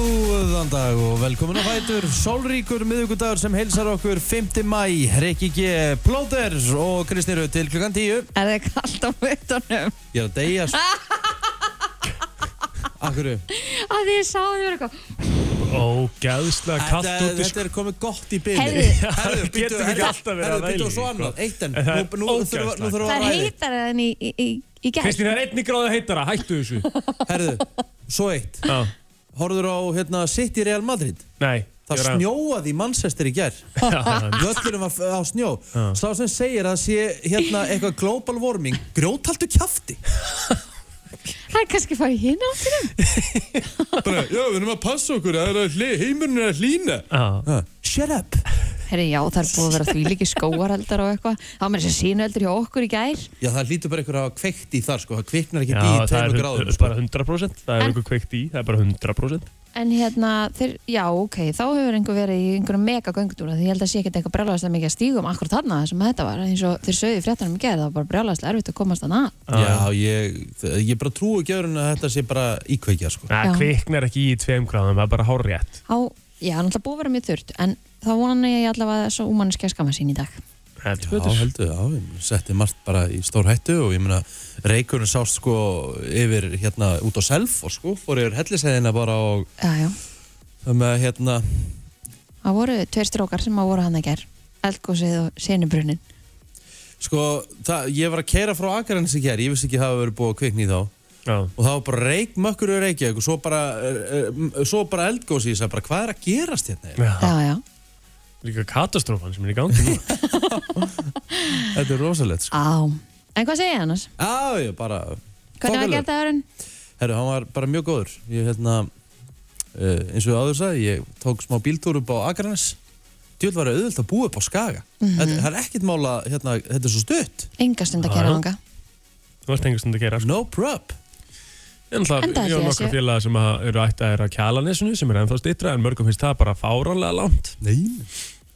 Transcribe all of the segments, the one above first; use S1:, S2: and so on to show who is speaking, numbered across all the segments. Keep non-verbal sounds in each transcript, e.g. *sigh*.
S1: Góðan dag og velkomin á Fætur, sólríkur miðugudagur sem heilsar okkur 5. mæ, Rikki G. Plóter og Kristi Rauð til klukkan 10.
S2: Er það kallt á veitunum?
S1: Ég er að deyja sko. svo.
S3: *laughs*
S1: Akkur,
S2: Að því ég sá þau verið eitthvað
S3: Ógæðslega kallt
S1: þetta,
S3: út í sko
S1: þetta er komið gott í byrju.
S2: Heyrðu.
S1: Já,
S3: það getur ekki alltaf verið
S1: Herðu,
S3: að væla
S1: býttu
S3: í,
S1: svo
S3: sko.
S1: annað, eitt enn.
S3: En það er
S1: Nú, nú þurfum við- nú þurfum við að
S2: Það er
S1: ræði.
S2: heitar enn í, í, í, í gær
S3: Kristín, það er einni gráðu heitara, hættu þessu
S1: Herðu, svo eitt.
S3: Já,
S1: Horður á hérna, City Real Madrid.
S3: nei
S1: Það snjóaði í Manchester í
S3: *laughs*
S1: gerð.
S3: snjóð
S1: Völlurinn var f- á snjó. Sá sem segir að sé hérna eitthvað global warming. Grjóthaldu kjafti.
S2: Það er kannski farið hinn áttina
S1: bara, já, við erum að passa okkur, það er að hli, heimurinn er að hlýna. Shut up.
S2: Herri, já, það er búið að vera því líki skóareldar og eitthvað Það var með þessi sínueldur hjá okkur í gær
S1: Já, það hlýtur bara eitthvað að hafa kveikt í þar, sko, það kveiknar ekki
S3: Já,
S1: dýr í
S3: það er
S1: tveimur
S3: hund-
S1: gráðum, sko.
S3: bara 100% Það er
S2: En-
S3: einhver kveikt í, það er bara 100%
S2: En hérna, þeir, já, ok, þá hefur einhver verið í einhverjum mega göngutúra Því ég held að sé ekkert eitthvað brjálæðast að mikið að stígum akkur þarna sem þetta var eins og þeir sögðu í fréttanum í gær, það var bara brjálæðast erfitt að komast þarna að
S1: Já, ég, ég bara trúi ekki öðrun að þetta sé bara íkveikja, sko.
S3: Það
S2: Já.
S3: kveiknar ekki í tveim gráðum, það er bara hár rétt
S2: Á, já, það er náttúrulega búið að vera mjög þurrt En þá vona ég allavega að svo úmanniski að skamma sín í dag
S1: Já,
S3: Heldur betur.
S1: heldur, já, ég setti margt bara í stór hættu og ég meina, reikurinn sást, sko, yfir, hérna, út á self og, sko, fór yfir hellisæðina bara og
S2: Já, já,
S1: með, hérna,
S2: það voru tveir strókar sem að voru hann að ger Eldgósið og senubrunin
S1: sko, það, ég var að keira frá Akarins í hér, ég vissi ekki að það hafa verið búið að kveikna í þá.
S3: Já,
S1: og það var bara reik mökkur í Reykjavík og svo bara, uh, uh, svo bara eldgósi ég sagði bara hvað er að gerast hérna eiginlega?"
S3: Já.
S2: Já, já,
S3: líka katastrófan sem er í gangi nú
S1: þetta er rosalegt sko.
S2: á En hvað segja ég annars?
S1: á ég bara
S2: Hvernig var gert aðurinn?
S1: herru hann var bara mjög góður ég hérna uh, eins og áður sagði ég tók smá bíltúr upp á Akranes djúl var auðvilt að búa upp á Skaga þetta, það er ekkit mála hérna þetta er svo stutt
S2: Enga stund að
S3: Já, já.
S2: kæra langa
S3: Þú varst einhver stund að gera sko.
S1: no prop
S3: En
S2: En það
S3: það
S2: held
S3: er
S2: ég að
S3: nokkra
S2: sé-
S3: félaga sem að eru ættaðir á kjalanesinu sem er ennþá stýttra en mörgum finnst það bara fáránlega langt
S1: nei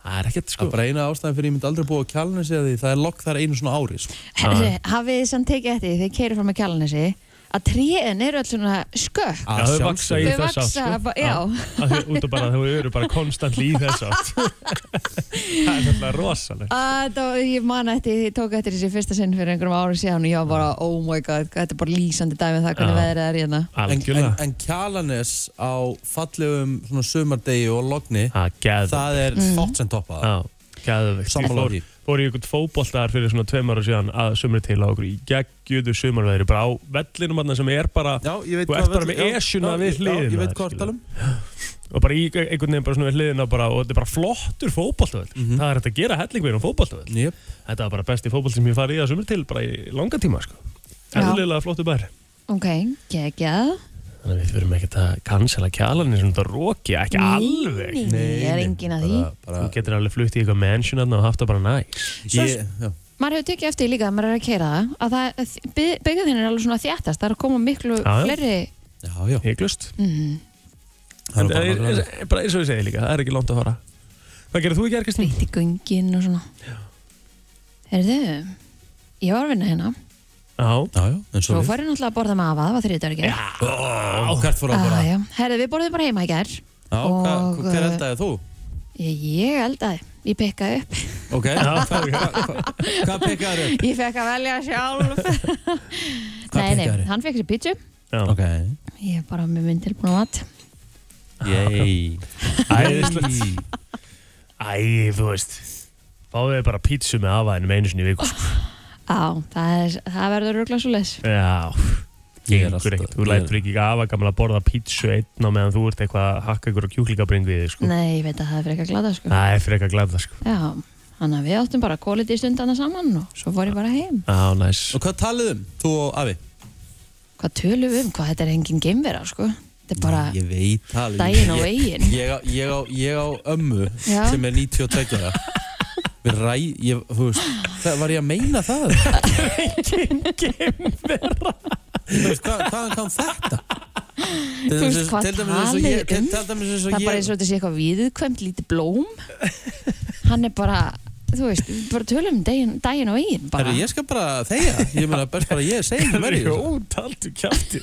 S3: Það er ekkert
S1: það
S3: sko
S1: er bara eina ástæðan fyrir ég myndi aldrei búa á Kjálnesi að því það er lokk þar einu svona ári sko.
S2: Herri, hafið þið samt tekið eftir því þegar keirið fram að kjalanesi að tréin eru alls svona skökk
S3: Já, þau vaksa í
S2: Þau
S3: þess átt sko.
S2: vaxa bara- já.
S3: Af því- Út af bara að þau eru bara konstantli í þess
S2: *laughs*
S3: átt Það er náttúrulega rosalegt
S2: Að þá, ég man eftir, því, ég tók eftir þessi fyrsta sinn fyrir einhverjum ári síðan og ég var bara, oh my god, þetta er bara lýsandi dæmi um það hvernig
S3: Já.
S2: veðrið er hérna.
S1: en, en,
S3: Algjörlega
S1: en Kjalanes á fallegum svona sumardegi og logni
S3: Það geð
S1: það er
S2: Mhm.
S1: mm. fátt sem toppa það
S3: Já, geðveikt. Ég
S1: Sammála
S3: fór,
S1: því.
S3: fór í einhvern fótboltar fyrir svona tveim ára síðan að sumri til á okkur í geggjöðu sumarveðri bara á vellinum hann sem er bara
S1: Já, ég veit
S3: Þú
S1: hvað
S3: ert bara
S1: velli-
S3: með
S1: já,
S3: Esjuna
S1: já,
S3: við
S1: já,
S3: hliðina,
S1: Ég veit hvað
S3: skilur.
S1: orðalum
S3: og bara í e- einhvern veginn bara svona við hliðina bara, og þetta er bara flottur fótboltavöld
S1: Mhm.
S3: það er hægt að gera hellingveginn á fótboltavöld
S1: yep.
S3: þetta var bara besti fótbolt sem ég farið í að sumri til bara í langa tíma sko.
S2: Já.
S3: eðlilega flottu bær
S2: Ok, geggjað.
S3: þannig að við verum ekkert að cancela kjalan eins og þetta roki, ekki alveg
S2: Nei, nei, er engin að því.
S1: bara,
S3: þú getur alveg flutt í eitthvað mansion þarna og haft það bara næs
S2: Svo-
S1: ég, já,
S2: Maður hefur tekið eftir því líka að maður er að keira það að það, byggðin er alveg svona þjættast, það er að koma miklu
S3: Já, já.
S2: fleiri,
S1: já, já
S3: hygglust
S2: Mm.
S1: Það er
S3: En það
S1: bara
S3: er,
S1: nákvæmlega.
S3: er, bara eins og ég segi líka, það er ekki langt að fara Hvað gerir þú í gerð, Kristýn?
S2: veit í göngin og svona. Herðu, ég var að vinna hérna,
S3: Já
S1: Já, já, en svo
S2: svo
S1: við
S2: fór ég náttúrulega að borða með afa, það var þriðdagur ekki.
S1: Ó, Hvert fór að bara
S2: Ah, já. Herðu, við borðum bara heima í gær.
S1: Já, hvað-
S2: Og,
S1: hver
S2: eh,
S1: eldaði þú?
S2: Ég, ég eldaði, ég pekkaði upp.
S1: Ok,
S3: Já,
S1: hvað hvað pekkaði upp?
S2: *laughs* Ég fekk að velja *laughs* sjálf Nei, nei,
S1: pekkaðirðu?
S2: hann fekk sér pítsu
S3: Já,
S1: Ok,
S2: Ég er bara með minn tilbúin á mat
S1: yey
S3: æðislegt Æ, þú veist Fáðu þið bara pítsu með afaðinum einu sinni í viku sko.
S2: Á, það, er, það verður rugla svo les
S3: Já
S1: Ég er
S3: Gengur
S1: alltaf-
S3: ekkert, Þú lætur ekki afa gamla að borða pítsu einn á meðan þú ert eitthvað að hakka ykkur á kjúklingabring við þig sko.
S2: Nei, ég veit að það er fyrir ekki að glada sko
S3: Það er fyrir eitthvað glæða sko.
S2: Já, hann að við áttum bara kólið í stundana saman og svo fór ég bara heim
S3: Já, næs *laughs*
S1: Og hvað talið um, þú og Afi?
S2: Hvað tölum við um, hvað þetta er engin geimvera sko Þetta er bara
S1: Ég veit talið
S2: daginn og veginn
S1: ég á, ég á, ég á ömmu
S2: Já.
S1: sem er 92 ára. Við ræ, ég, þú veist, það, var ég að meina það? Þú veist, hvað, hvaðan kom þetta? Til
S2: veist,
S1: dæmis-
S2: hvað
S1: til dæmis eins og
S2: talið
S1: ég-
S2: um?
S1: Til dæmis eins
S2: Það
S1: og
S2: er bara
S1: ég
S2: eins og þetta sé eitthvað viðkvæmt lítið blóm Hann er bara þú veist, bara tölum um daginn, daginn og eigin bara.
S1: Herru, ég skal bara þegja. Ég meina, best bara ég segi
S3: *laughs*
S1: ekki meira í
S3: Jó,
S1: þessu.
S3: taldu kjátti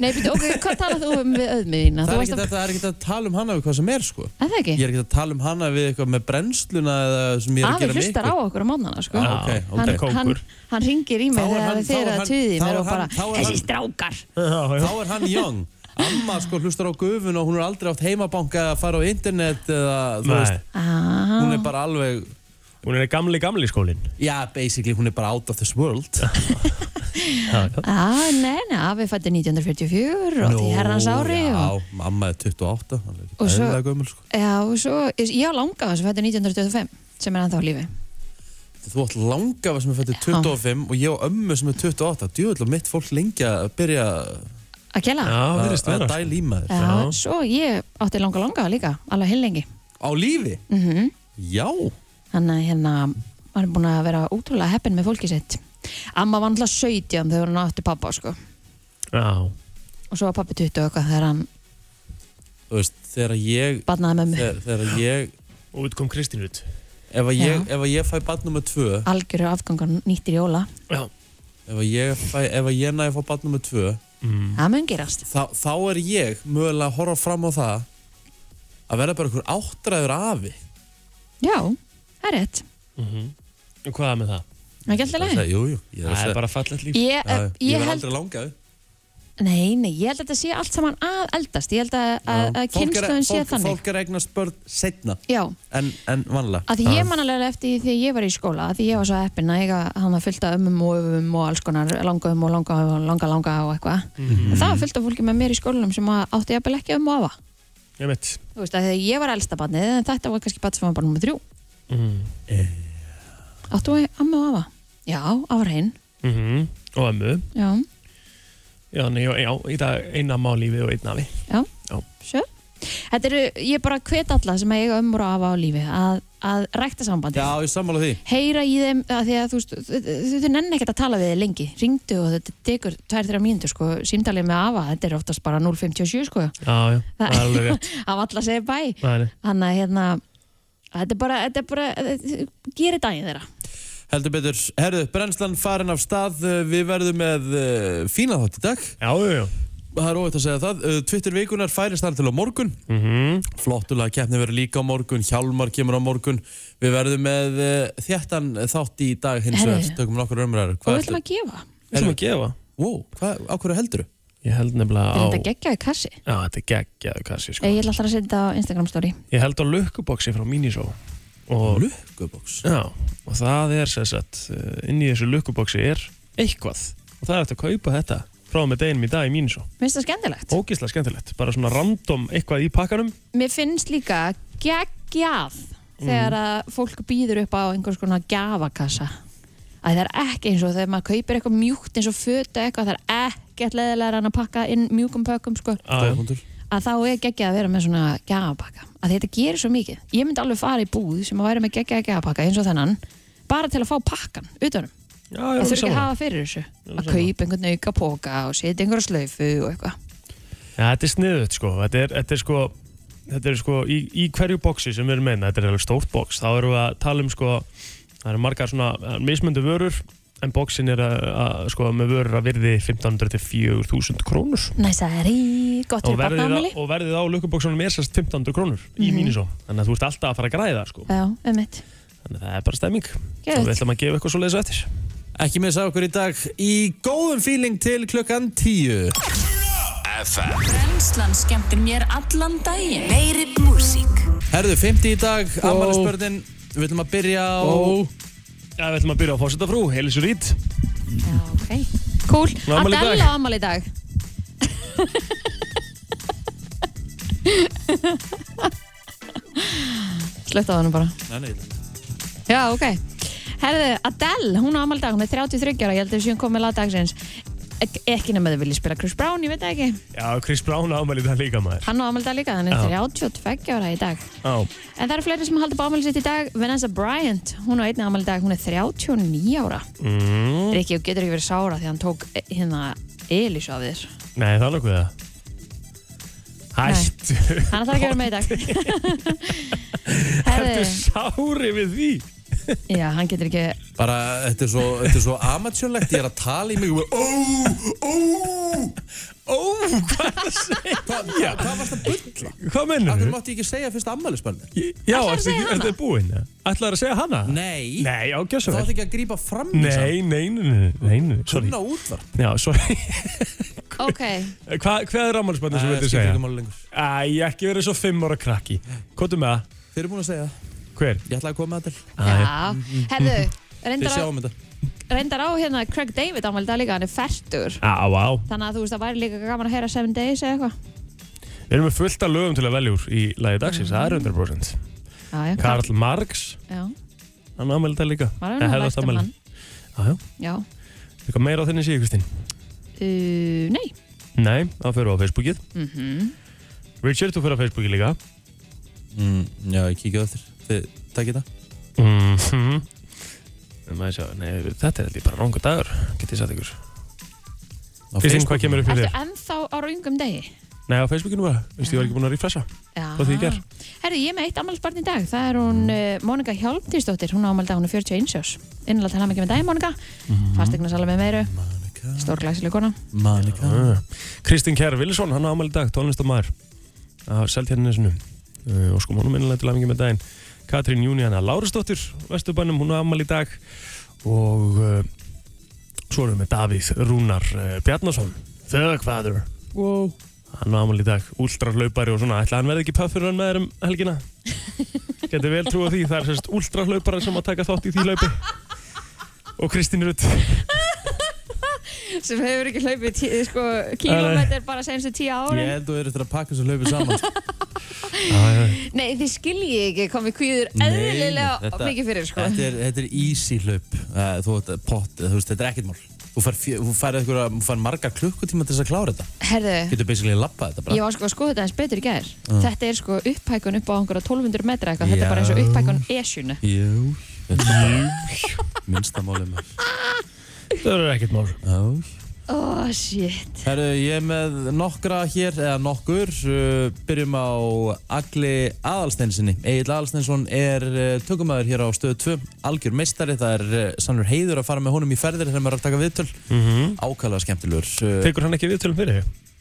S2: Nei, býttu, ok, hvað talað þú um við öðmiðina?
S1: Það
S2: Þú
S1: er
S2: varst
S1: ekkert
S2: að,
S1: að, það er ekkert að tala um hana við hvað sem er, sko.
S2: að það ekki?
S1: Ég er ekkert að tala um hana við eitthvað með brennsluna eða sem ég er að
S2: Afi
S1: gera með
S2: hlustar á
S1: ykkur.
S2: okkur á mótnana, sko.
S1: Já, ok, ok.
S2: Hann,
S3: Kókur.
S2: hann, hann ringir í mig
S1: Þá er
S2: þegar
S1: hann-
S2: þið
S1: þá
S2: er
S1: er
S2: að
S1: hann-
S2: tuði
S1: þá
S2: mér
S1: er
S2: og bara,
S1: hann- þá er
S2: þessi
S1: hann-
S2: strákar.
S1: Þá er hann young. Amma sko hlustar á gufun og hún er aldrei átt heimabanka að fara á internet eða, þú veist, hún er
S2: Ah,
S1: bara alveg,
S3: Hún er gamli, gamli skólinn
S1: já, basically, hún er bara out of this world.
S2: ah, nei, nei, afi fætti 1944 og því herrans ári og,
S1: Já, mamma er 28, hann er
S2: Og
S1: ekki
S2: svo-
S1: eðlilega gömul, sko.
S2: já, og svo, ég ég á langa sem fætti 1925 sem er ennþá á lífi.
S1: Þú átt langafa sem er fættið 25 og ég og ömmu sem er 28. Djúvill og mitt fólk lengi að byrja
S2: Að kjela?
S3: Já,
S1: að
S3: verðist
S1: að
S3: vera sko.
S1: dæla í maður.
S2: Já,
S3: já.
S2: svo ég átti langa langa líka, alveg heil lengi.
S1: Á lífi?
S2: Mm
S1: Já.
S2: Þannig að hérna maður er búin að vera útrúlega heppin með fólkið sitt. Amma var náttúrulega 17 þegar hún átti pappa sko.
S3: Já,
S2: Og svo var pappi 20 og eitthvað þegar hann
S1: Þú veist, þegar ég,
S2: badnaði með mig.
S1: þegar, þegar ég,
S3: og út kom Kristín út
S1: ef að ég,
S2: Já.
S1: ef að ég fæ barn nummer 2,
S2: Algjörur afgangar nýttir jóla.
S3: Já
S1: ef að ég, fæ, ef að ég næði að fá barn nummer 2,
S3: mm.
S2: Það mun gerast.
S1: þá, þá er ég mögulega að horfa fram á það að verða bara einhver áttræður afi.
S2: Já, það er rétt.
S3: Mm -hmm. Og hvað er með það?
S2: Það er ekki alltaf leið.
S1: leið? Jú, jú, ég er að
S3: Það er
S1: segja.
S3: bara fallegt líf
S2: Ég,
S1: Já,
S2: ég,
S1: Ég verð
S2: held,
S1: aldrei langaði.
S2: nei, nei, ég held að þetta sé allt saman að eldast. Ég held að, að, að
S1: Fólk er-
S2: kynnslóðin sé
S1: fólk-
S2: þannig.
S1: Fólk er að eignast börn setna
S2: Já,
S1: en, en vanlega.
S2: að því ég man alveg eftir því þegar ég var í skóla, að því ég var svo heppin að ég hann að fullta ömmum og öfum og alls konar langaum og langa, langa, langa og eitthvað.
S1: Mhm.
S2: En það var fullt af fólki með mér í skólanum sem að átti jafnvel ekki um og afa.
S3: Ég mitt
S2: Þú veist að þegar ég var elsta barnið, en þetta var kannski barn sem var bara nummer þrjú.
S1: Mhm.
S3: mm.
S2: Áttu að amma og afa? Já, afa hinn.
S3: -hmm. Og ömmu
S2: Já,
S3: Já, þannig, já, já, í dag eina má lífið og einn afi
S2: já.
S3: Já.
S2: Sjö. Þetta eru, ég bara hvet alla sem að eiga ömmur og afa á lífi að, að rækta sambandi.
S1: Já, ég sammála því.
S2: Heyra í þeim að því að þú veist, þau- þau nenni ekkert að tala við þið lengi. Ringdu og þetta tekur 2-3 mínútur sko, símtalið með afa, þetta er oftast bara 0.57 sko.
S3: Já,
S2: Það-
S3: já, það er alveg rétt
S2: *laughs* Af alla segir bæ.
S3: Það er-
S2: Þannig að hérna, þetta er bara, þetta er bara, gerir daginn þeirra.
S1: Heldur betur, herðu, brennslan farin af stað, uh, við verðum með uh, fína þátt í dag.
S3: Já, já, já
S1: Það er óvægt að segja það. Uh, Twitter vikunar færist þar til á morgun.
S3: mm
S1: Flottulega keppni verður líka á morgun, Hjálmar kemur á morgun. Við verðum með uh, þjættan þátt í dag hins
S2: Herðu.
S1: vegar, tökum nokkur umræður.
S2: Hvað ætlum að gefa?
S3: Við ætlum að gefa
S1: Wow, hvað, á hverju heldur
S3: Ég held nefnilega
S2: Er
S3: á
S2: þetta geggjaði kassi?
S3: Já, þetta er geggjaðu kassi sko
S2: Ég ætla alltaf að setja á Instagram story.
S3: Ég held á lukkuboksi frá Miniso og,
S1: Lukkuboks.
S3: já, og það er sem sagt eh, inn í þessu lukkuboksi er eitthvað og það er eftir að kaupa þetta frá og með deginum í dag í Miniso
S2: Minnst það skemmtilegt?
S3: Ógislega skemmtilegt, bara svona random eitthvað í pakkanum
S2: Mér finnst líka geggjað
S3: Mhm.
S2: þegar að fólk býður upp á einhvers konar gjafakassa. Að það er ekki eins og þegar maður kaupir eitthvað mjúkt eins og föta eitthvað, það er ekkert leðilega en að pakka inn mjúkum pökkum sko.
S3: að,
S2: Að þá er geggjað að vera með svona gjafapakka. Að þetta gerir svo mikið. Ég myndi alveg fara í búð sem að væri með geggjaða gjafapakka eins og þennan bara til að fá pakkan utanum.
S3: Já, já,
S2: Það
S3: við
S2: þurfi ekki að
S3: saman.
S2: hafa fyrir þessu.
S3: alveg
S2: Að
S3: sammála.
S2: kaupa einhvern auka póka og setja einhverja slaufu og eitthvað.
S3: Já, þetta er sniðut sko Þetta er, þetta er sko, þetta er sko í, í hverju boksi sem við erum meina, þetta er alveg stórt boks þá erum við að tala um sko það eru margar svona eh, mismunandi vörur en boksin er að, að sko með vörur að virði 1500-4000 krónur
S2: Næsari, gott
S3: og
S2: fyrir
S3: verðið, á,
S2: barnaðamæli.
S3: og verðið á lukkubóksunum er sérst 1500 krónur í
S2: Mhm.
S3: Miniso þannig að þú ert alltaf að fara að græða sko.
S2: Já, um mitt.
S3: þannig að það er bara stemming
S2: Geðveikt.
S3: og við ætlum að gefa eitthvað svo leiðis eftir
S1: Ekki missa okkur í dag í góðum fíling til klukkan 10.
S4: Brennslan skemmtir mér allan daginn Meiri músík
S1: Herðu, 50 í dag, oh. afmælisbörnin Við ætlum að byrja á
S3: Já, við ætlum að byrja á fórsetafrú, Helis Rít
S2: Já, ok. Cool.
S3: Hún á afmæli í dag.
S2: Adele á ammali í dag. Slögt á hann bara.
S1: Nei, nei, nei.
S2: Já, ok. Herðu, Adele, hún á ammali í dag, hún er 33 ára, ég held að þessi hún kom með lagdagsins. Ek, ekki nema þau vilja spila Chris Brown, ég veit það ekki.
S3: Já, Chris Brown ámæli það líka maður
S2: Hann á ammali í dag líka, hann er
S3: Já.
S2: 32 ára í dag.
S3: Já,
S2: En það eru fleiri sem haldi bámæli sitt í dag. Vanessa Bryant, hún á einni ammali í dag, hún er 39 ára.
S3: mm.
S2: Rikki, þú getur ekki verið sára því að hann tók eh, hérna Elísu af þér.
S3: nei, það er nokkuð það
S2: *laughs*
S3: Hættu
S2: Hann ætlar ekki að vera með í dag
S3: Ertu
S2: Herðu,
S3: sári við því?
S2: Já, hann getur ekki
S1: Bara, þetta er svo, þetta er svo amatjörlegt, ég er að tala í mig og ó, ó, ó, hvað
S3: *laughs*
S1: er það að segja? Hvað, já, hvað varst að bulla?
S3: Hvað mennur
S1: Akkur
S3: þú?
S1: mátti ég ekki segja fyrst ammælisbönni?
S3: Já,
S2: Ætlarðu að
S3: ertu
S2: segja
S3: ekki-
S2: hana?
S3: ertu búinn? eða? Ætlarðu að segja hana?
S1: Nei,
S3: Nei, ágjössu
S1: þá
S3: vel
S1: ætti ekki að grípa fram í
S3: Nei, nei, nei, nei, nei, nei, sorry
S1: Kunna útvarp.
S3: Já, sorry
S2: Ok,
S3: Eh, Hva, Hvað er rammalspöndin sem
S1: Nei,
S3: þú
S1: skiptir
S3: viltu segja?
S1: ekki máli lengur.
S3: Æ, ekki verið svo fimm ára krakki Kvotum með það,
S1: Þið eru búin að segja það.
S3: hver?
S1: Ég ætla að koma að til.
S3: Æ,
S2: já Herðu,
S1: Þið
S2: reyndar á,
S1: sjáum um þetta.
S2: reyndar á hérna Craig David ámæli dag líka, hann er færtur
S3: Á, á
S2: Þannig að þú veist, það væri líka gaman að heyra 7 days eða eitthvað
S3: Við erum með fullt af lögum til að velja úr í lagi dagsins, það er 100%
S2: Já, já,
S3: Karl Marx,
S2: Já,
S3: hann ámæli það líka
S2: maður er
S3: Eða
S2: nú
S3: hefði
S2: lært
S3: átt
S2: um
S3: afmæli.
S2: hann
S3: Já, já,
S2: Já,
S3: eitthvað meira á þenni síðu, Kristín
S2: uh, nei
S3: Nei, það fyrir á Facebookið
S2: mm
S3: Richard, þú fyrir á Facebookið líka
S1: Mm, já, ég kíkja það þér. Þið takkir það.
S3: mm -hmm. sjá, nei, Þetta er alltaf bara rangur dagur Get ég sagt ykkur
S1: Á
S3: Kristín,
S1: Facebook.
S3: hvað kemur upp í
S2: Ertu
S3: þér?
S2: ennþá á röngum degi?
S3: Nei, á Facebookinu bara, veistu, ég var ekki búin að refresha
S2: Já.
S3: Hvað því í gær?
S2: Herðu, ég er með eitt afmælisbarn í dag. Það er hún mm. Mónika Hjálmtíðsdóttir. Hún ámæli dag, hún er 41 árs. Innanlega til hann ekki með dag, Mónika. Mm. Fastegnarsala með meiru.
S1: Monica,
S2: Stórglæsileg kona.
S1: Monica.
S3: Ah. Kristinn Kjær Vilsson, hann á afmæli í dag, tónlistamæður af Seltjarnisinu uh, og sko mánum innlega til aðmingi með daginn Katrín Júníana Lárusdóttir, Vesturbænum, hún á afmæli í dag og uh, svo erum við Davíð Rúnar uh, Bjarnason Þögfæður
S1: Wow.
S3: hann á afmæli í dag, últrarlaupari og svona ætla hann verði ekki puffur hann með þér um *laughs* helgina geti vel trúa því, það er sérst últrarlaupari sem að taka þátt í því laupi og Kristín Rutt
S2: Sem hefur ekki hlaupið tí, sko,
S3: kílómetra
S2: kílómetr bara senstu tíu
S1: Ég
S2: ári.
S1: held þú eru eftir að pakka þessu hlaupi saman. sko.
S2: Nei, þið skiljið ekki komið kvíður
S1: Nei,
S2: *laughs* eðlilega
S1: þetta-
S2: mikið fyrir, sko.
S1: Þetta er, þetta er easy hlaup. Eh, Þú, þetta, pott, þú veist, þetta er ekkert mál. Þú fær, fjö- þú fær, einhverja- þú fær marga klukkutíma til þess að klára þetta.
S2: Herðu,
S1: Getur basically lappað þetta bara.
S2: ég var sko að skoða þetta eins betur í gær. Þetta er sko upphækun upp á einhverja 1200 metra eitthvað. Þetta
S1: Já.
S2: er bara eins og upphækun esjunu.
S1: Jú, jú, minnsta málið maður.
S3: það er ekkert mál
S1: Já.
S2: Oh, shit.
S1: Herru, ég er með nokkra hér, eða nokkur, uh, byrjum á Agli Aðalsteinsinni. Egil Aðalsteinsson er uh, tökumæður hér á stöðu 2, algjör meistari, það er uh, sannur heiður að fara með honum í ferðir þegar maður er að taka viðtöl.
S3: mm
S1: Ákvæðlega skemmtilegur. Uh,
S3: Tekur hann ekki viðtölum fyrir þig?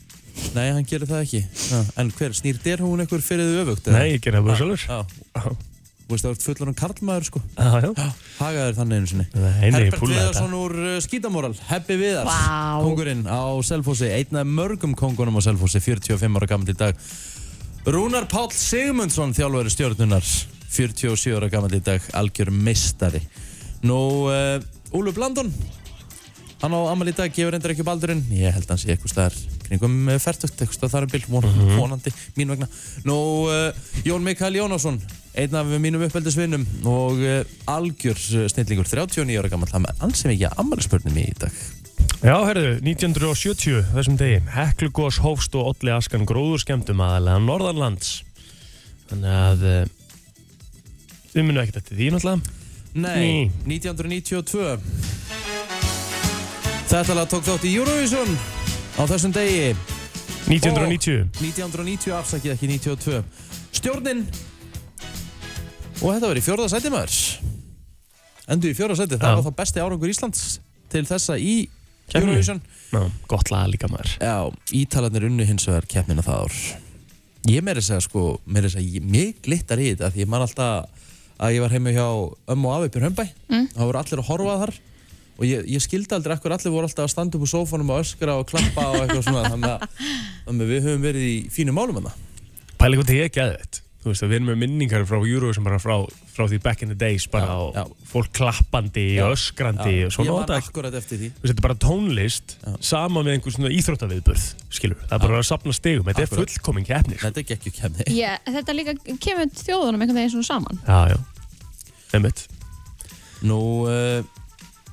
S1: nei, hann gerir það ekki. Ha, en hver, snýr þér hún einhver fyrir þau öfugt?
S3: Nei, Ah. ég gerði það bara sjálfur.
S1: Já,
S3: Já,
S1: þú veist það vart fullan um karlmaður sko.
S3: Ah, já.
S1: Já, Hagaður þannig einu sinni.
S3: Nei, nei, ég
S1: Herbert
S3: púlaði þetta.
S1: Viðarsson úr uh, Skítamóral, Heppi Viðars,
S2: Vá.
S1: kongurinn á Selfossi, einn af mörgum kongunum á Selfossi, 45 ára gammal í dag. Rúnar Páll Sigmundsson, þjálfur stjórnunar, 47 ára gammal í dag, algjör meistari. Nú, uh, Úlur Blandon, hann á Amal í dag, gefur endur ekki upp aldurinn, ég held hans ég eitthvað staðar kringum eh, fertugt, eitthvað staðar þar um bíl, von, vonandi, mín vegna. Nú, uh, Jón Mikael Jónásson, einn af mínum uppeldisvinnum og uh, algjör eh, snillingur, 39 ára gammal, hann ansi mikið að ammalispörnum í dag.
S3: Já, herðu, 1970, þessum degi, Heklugós hófst og olli askan gróður skemmtum aðalega norðanlands. Þannig að eh, þið munum ekkert eftir því náttúrulega.
S1: Nei, 1992 Þetta lag tók þátt í Eurovision á þessum degi
S3: 1990,
S1: 1990 afsakið ekki 92 Stjórnin og þetta var í fjórða sæti maður Endur í fjórða sæti,
S3: Já.
S1: það var þá besti árangur Íslands til þessa í
S3: Keppninni.
S1: Eurovision
S3: Ná, gott laga líka maður.
S1: Já, Ítalarnir unnu hins vegar keppnina það ár Ég meiri að segja sko, meiri að segja, ég- mig glittar í þetta því ég man alltaf að ég var heima hjá ömmu og afi upp í Römbæ mm. það voru allir að horfa þar og ég, ég skildi aldrei akkur allir voru alltaf að standa upp úr sófanum og öskra og klappa og eitthvað svona þannig að, þannig að við höfum verið í fínum málum en
S3: Pæli hvað þið ekki að þetta. Þú veist að við erum með minningar frá Eurovision bara frá, frá því back in the days
S1: Já,
S3: bara og
S1: já.
S3: fólk klappandi
S1: Já,
S3: og öskrandi og
S1: Ég
S3: svona
S1: man
S3: þetta
S1: akkurat eftir því
S3: Þú veist, þetta er bara tónlist saman með einhver svona íþróttaviðbörð skilur, það er bara að sapna stegum þetta er
S1: Akkurat.
S3: fullkomin keppni sko.
S1: Þetta er ekki kemni
S2: Yeah, þetta líka kemur þjóðunum einhvern veginn svona saman.
S3: já, já, einmitt
S1: Nú, uh,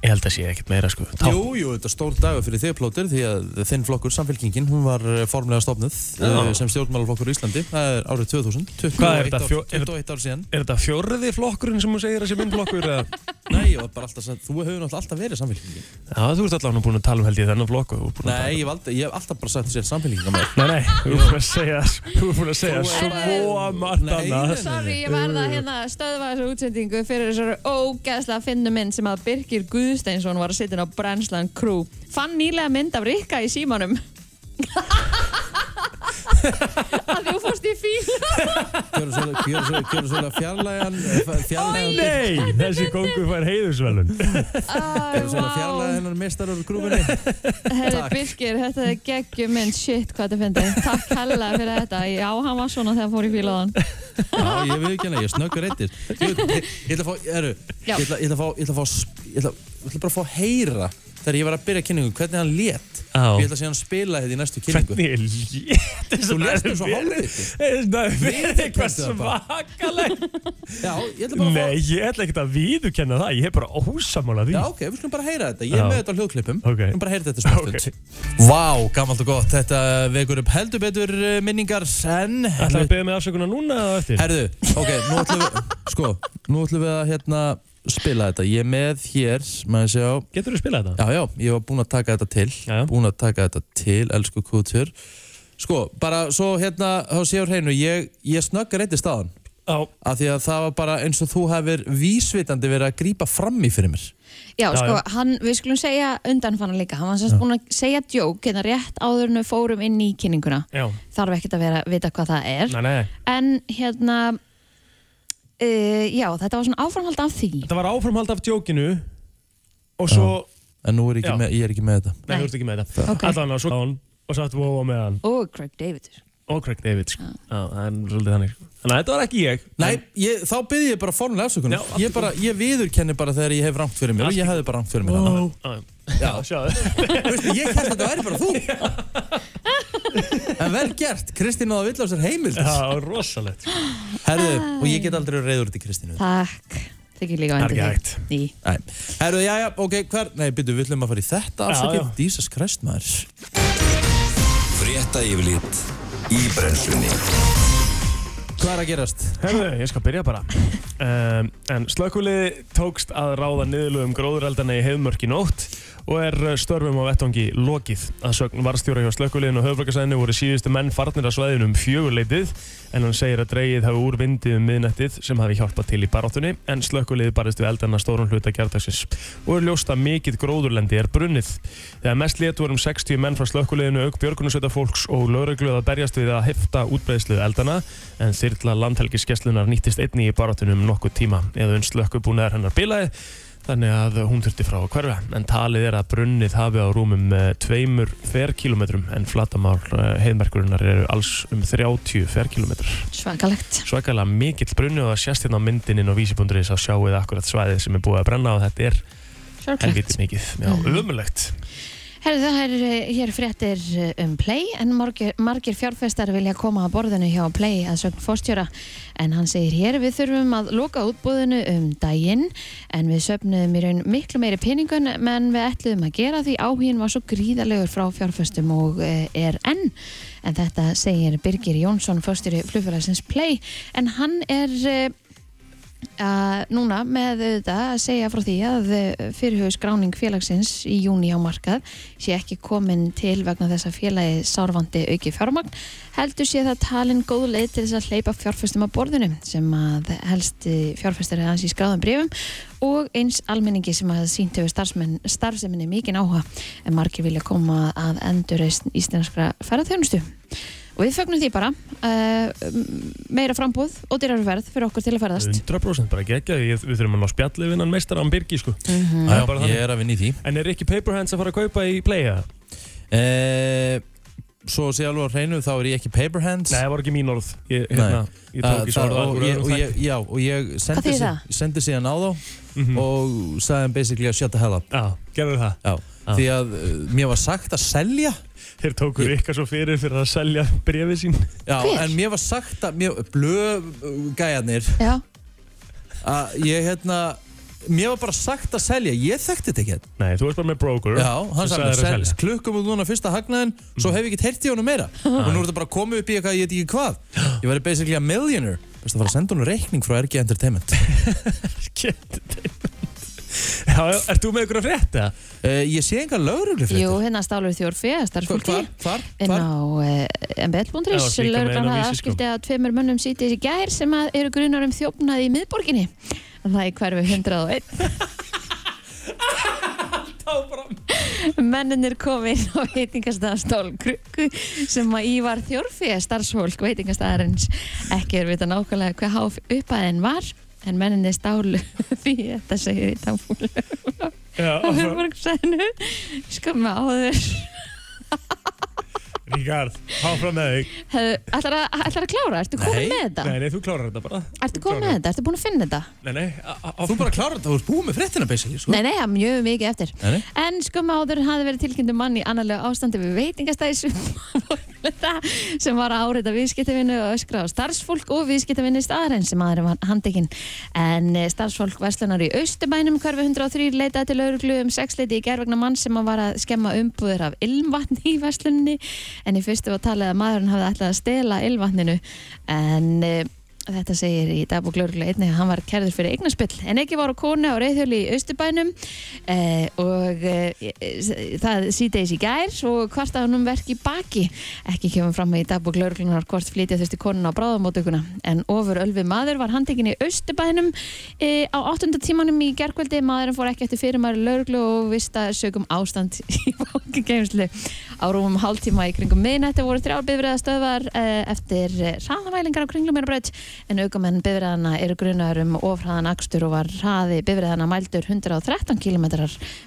S3: ég held að sé ekkert meira sko Tá-
S1: jú, jú, þetta er stór dagur fyrir þig plótir því að þinn flokkur, Samfélkingin, hún var eh, formlega stofnuð uh, sem stjórnmálaflokkur í Íslandi það er árið 2000
S3: Hvað
S1: 21
S3: er þetta,
S1: ár-
S3: fjó- er-
S1: 21 ár síðan
S3: er þetta fjórði flokkurinn sem þú segir að sé minn flokkur eða?
S1: Nei, og bara alltaf, sagt, þú hefur náttúrulega alltaf verið samfélkingin.
S3: Já, þú ert allavega búin að tala um held ég þennan blokku þú ert búin að
S1: Nei, ég hef, aldrei, ég hef alltaf bara sagt þér samfélkinga maður.
S3: Nei, nei, þú ert búin að segja sko. Þú ert búin að segja
S1: Þú
S2: er-
S3: svo margt
S1: Nei,
S3: annað
S1: nei.
S2: Sorry, ég verða hérna að stöðva þessu útsendingu fyrir þessari ógeðslega finnu mynd sem að Birgir Guðsteinsson var að sitja inn á Brennslan Crew. Fann nýlega mynd af Rikka í *laughs* símanum. að þú fórst í fíl.
S1: Kjöru svolítið- kjöru svolítið- kjöru svolítið fjarlægan, eh, fjarlægan,
S3: Nei, þessi kongur fær heiðusvelun
S1: kjöru svolítið fjarlægan hennar mestar úr grúfinni.
S2: Herri
S1: Takk.
S2: Birgir, þetta er geggjum mynd. Shit, hvað þetta finnir. Takk hella fyrir þetta. Já, hann var svona þegar hann fór í fíl á hann.
S1: Já, ég veit ekki hana, ég snöggur eittir. Ég, ég, ég ætla að fá, heru,
S2: Já.
S1: ég ætla, ég ætla að fá, ég ætla að fá, sp- ég ætla, ég ætla bara að fá að heyra þegar ég var að byrja kynningu, hvernig hann lét.
S3: Já.
S1: Ég ætla að sé hann spila þetta í næstu kynningu.
S3: Hvernig er létt
S1: Þú lest þessu hálfviti.
S3: Það er verið eitthvað
S1: Viðurkenndu það bara.
S3: svakalegt
S1: Já, ég ætla bara að fá,
S3: Nei, ég ætla ekkert að viðurkenna það Ég er bara ósamála því
S1: Já, ok, við skulum bara heyra þetta. Ég er
S3: Já.
S1: með þetta á hljóðklippum.
S3: Ok.
S1: Við skulum bara heyra þetta smástund.
S3: Ok.
S1: Vá, gammalt og gott. Þetta vekur upp heldur betur eh, minningar en...
S3: Ætlar að beða mig afsökunar núna eða eftir?
S1: Herðu, ok, nú ætlum við... Sko, nú ætlum við að hérna spila þetta. Ég er með hér, maður sjá...
S3: Getur þú spilað þetta?
S1: Já, já, ég var búinn að taka þetta til.
S3: Já, já.
S1: Búinn að taka þetta til, elsku kútur. Sko, bara svo hérna, þá séu hreinu, ég, ég snöggar eitt í staðan.
S3: Já,
S1: Af því að það var bara eins og þú hefur vísvitandi verið að grípa fram í fyrir mér.
S2: Já,
S3: Já,
S2: sko,
S3: já.
S2: Hann, við skulum segja undanfanna líka. Hann var semst búin að segja djók hérna rétt áður en við fórum inn í kynninguna.
S3: já,
S2: Þarf ekkert að vera að vita hvað það er.
S3: nei, nei
S2: En hérna, uh, já, þetta var svona áframhald af því.
S3: Þetta var áframhald af djókinu Og svo,
S1: En nú er ég
S3: Já.
S1: ekki, með, ég er ekki með þetta.
S3: nei, þú ert ekki með þetta
S2: Ok.
S3: Allan og svo hann og satt wow á meðan
S2: Og Craig David.
S3: Og Craig David, sko Já, það er svolítið þannig sko. Þannig að þetta var ekki ég
S1: Nei, ég, þá byrði ég bara formulega afsökunar.
S3: Já, allt í
S1: Ég, bara, ég viðurkenni bara þegar ég hef rangt fyrir mér og ég hefði bara rangt fyrir mér þannig.
S3: Ó. Já, já, sjáðu
S1: Veistu, ég held að þetta væri bara þú. en vel gert, Kristín áða vill á sér heimild.
S3: *laughs* Já, rosalegt sko.
S1: Herðu, og ég get aldrei reyður til Kristínu.
S2: Takk. Þykir líka
S3: Það er
S2: vænt um
S3: ekki
S2: þig.
S3: hægt.
S2: Ný.
S1: Nei, herðu, já, já, ok, hver? Nei, byrju, við ætlum að fara í þetta afsakið.
S3: já.
S1: Jesus Christ, maður.
S5: Frétta yfirlit í brennslunni
S1: Hvað er að gerast?
S3: Herðu, ég skal byrja bara um, En slökkuliði tókst að ráða niðurlögum gróðureldana í hefðmörk í nótt og er uh, störfum á vettangi lokið. Að sögn varstjóra hjá slökkuliðin og höfbrukarsæðinu voru síðustu menn farnir að svæðinu um fjögurleitið en hann segir að dreigið hafi úr vindið um miðnættið sem hafi hjálpað til í baráttunni en slökkuliði barist við eldana stórun hluta kjartagsins og er ljóst að mikill gróðurlendi er brunnið. Þegar mest létt vorum 60 menn frá slökkuliðinu auk björgunarsveita fólks og lögreglu að berjast við að hefta útbreiðslu eldana en þyrla landhelgiskeslunar nýttist einni í barátunum nokkuð tíma eða unn slökkubúnaðar hennar bilaði þannig að hún þurfti frá að hverfa en talið er að brunnið hafi á rúmum eh, tveimur ferkilometrum en flatamál eh, heiðmerkurinnar eru alls um 30 ferkilometrar
S2: Svakalegt.
S3: svakalega mikill brunni og það sést hérna á myndininn og vísibundurins að sjáuð akkurat svæðið sem er búið að brenna og þetta er
S2: Sorglegt.
S3: helvítið mikið, já, ömulegt
S2: Herðu, það er eh, hér fréttir eh, um Play en margir, margir fjárfestar vilja koma að borðinu hjá Play að sögn fórstjóra en hann segir hér við þurfum að loka útbúðinu um daginn en við söfnuðum í raun miklu meiri peningun menn við ætluðum að gera því áhugin var svo gríðarlegur frá fjárfestum og eh, er enn en þetta segir Birgir Jónsson fórstjóri flugfélagsins Play en hann er eh, að núna með þetta að segja frá því að fyrirhauð skráning félagsins í júni á markað sé ekki komin til vegna þess að félagi sárvandi auki fjármagn heldur sé það talin góð leið til þess að hleypa fjárfestum að borðinu sem að helst fjárfestar er aðeins í skráðum brefum og eins almenningi sem að sínt hefur starfsemin, starfseminni mikinn áhuga en margir vilja koma að endurreist íslenskra ferðarþjónustu og við fögnum því bara uh, meira frambúð og dyrari verð fyrir okkur til að ferðast
S3: 100% bara gegja, við þurfum að ná spjallið vinnan meistara án Birgi sko
S1: Já,
S3: Það er
S1: ég
S3: bara þannig.
S1: er að vinna í því.
S3: En er ekki Paperhands að fara að kaupa í Playa?
S1: E, svo sé alveg að hreinu, þá er ég ekki paper hands.
S3: Nei, það var ekki mín orð Ég, hérna, ég
S1: Það-
S3: tók í
S1: það-
S3: svarða
S1: og, ég, og, ég, já, og ég
S2: Hvað
S1: sendi,
S2: þýðir
S1: sig,
S2: það?
S1: sendi síðan á þá
S3: Já,
S1: og sagði hann basically að shut the hell up
S3: gerðu það
S1: já.
S3: Já.
S1: því að uh, mér var sagt að selja
S3: Þeir tóku ykkar svo fyrir fyrir að selja brefið sín
S1: já,
S2: Hver?
S1: en mér var sagt að mér, blöð uh, gæjarnir
S2: Já,
S1: að ég hérna mér var bara sagt að selja, ég þekkti þetta ekki hérna.
S3: Nei, þú varst bara með broker
S1: já, hann
S3: Þú
S1: sagði
S3: sagðir að
S1: mér, Mm. sel,
S3: selja. *laughs*
S1: klukkum út núna fyrsta hagnaðin svo hef ég ekkert heyrt í honum meira og nú er þetta bara komið upp í eitthvað, ég veit ekki hvað ég væri basically *laughs* a millionaire Best að fara að senda honum reikning frá RG Entertainment
S3: Get- Já, já, ert þú með ykkur að frétta?
S1: Uh, ég sé enga lögreglu
S2: Jú, hérna stálur þjór fyrir starfsfólki
S1: Hvar?
S2: inn
S1: Hvar?
S2: á uh,
S3: Já,
S2: MBL.ris
S3: slíka með
S2: lauruglan
S3: inn á
S2: hafði
S3: Vísi, sko.
S2: afskipti að tveimur mönnum sítið í gær sem að eru grunar um þjófnað í miðborginni það er hverfi 101 Menninir kom inn á veitingastæðan Stál Krukku sem að Ívar Þjórfið starfsfólk veitingastæðarins ekki er vita nákvæmlega hvað háf uppaðin var en menninir stálu *laughs* því þetta segir í táfúlu
S3: Já,
S2: á Hörmorgsæðinu skömmu Sko, áður
S3: Ríkard, háfram með þig
S2: Hefðu, ætlar, að, ætlar að klára, ertu komin
S1: Nei,
S2: með þetta?
S3: Nei, nei, þú klárar þetta bara
S2: ertu komin með
S3: klárar.
S2: þetta, ertu búin að finna þetta?
S3: Nei, nei, á- á-
S1: Þú bara klarar þetta, þú ert búið með fréttina basically, sko.
S2: Nei, nei, það er mjög mikið eftir.
S1: Nei, nei.
S2: En skömmu áður hafði verið tilkynntu mann í annarlega ástandi við veitingastæðis *laughs* sem var að áreita viðskiptavinu og öskra á starfsfólk og viðskiptavinu staðarinn sem aðeins var handekinn. En eh, starfsfólk verslunar í Austubænum hverfi 103 leitaði til lauruglu um sexleiti í gerð vegna mann sem að var að skemma umbúður af ilmvatni í verslunni en í fyrstu var talið að maðurinn hafði ætlað að stela ilmvatninu en... eh, Þetta segir í dagbúk lauruglu einni að hann var kærður fyrir eignaspill en ekki var á konu á reyðhjóli í Östubænum eh, og eh, eh, það síðdeis í gær og hvart að hann um verk í baki ekki kemur fram í dagbúk lauruglunar hvort flytja þurfti konun á bráðamótökuna en ofur Ölvi maður var handtekinn í Östubænum eh, á 8. tímanum í gerkvöldi maðurinn fór ekki eftir fyrir maður lauruglu og vista sögum ástand *laughs* í fangageimslu á rúmum hálftíma í kringum miðnætti voru þrjár bifræðastöðvar eh, eftir hraðamælingar á kringlumerabraut en augamenn bifræðana eru grunar um ofraðan akstur og var hraði bifræðana mældur 113 km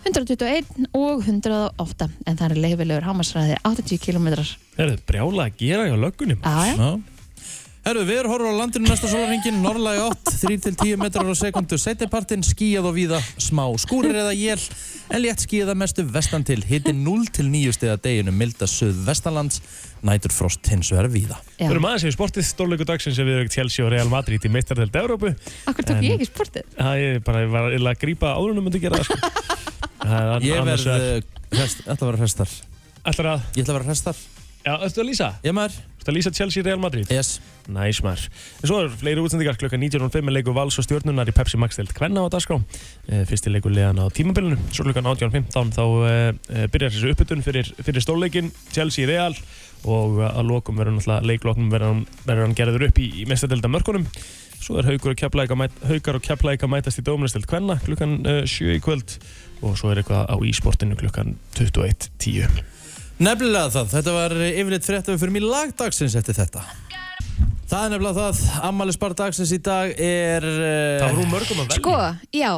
S2: 121 og 108 en það er leifilegur hámasræði 80 km
S3: Herðu, brjála að gera hjá löggunum
S2: Aðe?
S1: Já. Herru, við erum horfum á landinu næsta sólarringin, norðlæg 8, 3-10 metrar á sekundu, setjapartinn, skíjað og víða, smá skúrir eða jél, en létt skíjað að mestu vestan til, hitti 0-9 stiða deginu, milda suðvestanlands, nætur frost hins vegar víða.
S2: Já.
S3: Við erum aðeins í sportið stórleiku dagsins sem við erum Chelsea og Real Madrid í meistardelt Evrópu
S2: Akkur tók
S3: En-
S2: ég ekki sportið?
S3: Það er bara, ég var illa að grípa áðurinnum að gera
S1: *laughs*
S3: það sko. Það er
S1: Ég
S3: annars
S1: verð,
S3: vegar-
S1: eh, hress- ætla að vera hrestar.
S3: Ætlar að,
S1: Ég ætla að vera hrestar.
S3: já, ættu að lýsa?
S1: Ég maður?
S3: Ættu að lýsa Chelsea Real Madrid?
S1: Yes.
S3: Næs maður. En svo eru fleiri útsendingar klukka 19.05 með leiku vals og stjórnunar í Pepsi Max delt Kvenna á dagskrá. Eh, Fyrsti leikur leiðan á tímabilinu, svo klukkan 18.15 þá eh, eh, byrjar þessi uppbytun fyrir, fyrir stórleikin, Chelsea Real og eh, að lokum verður náttúrulega leikloknum verður hann, verður hann gerður upp í, í mestadelda mörkunum. Svo er haugur og keflæk að, mæt, haugar og keflæk að mætast í dómnestelt Kvenna klukkan eh, 7 í kvöld og svo er eitthvað á e-sportinu klukkan 21.10.
S1: Nefnilega það, þetta var yfirleitt frétt að við fyrir mig lagdagsins eftir þetta. Það er nefnilega það, ammælisbar dagsins í dag er... eh,
S3: Það var hún mörgum að velja.
S2: Sko, já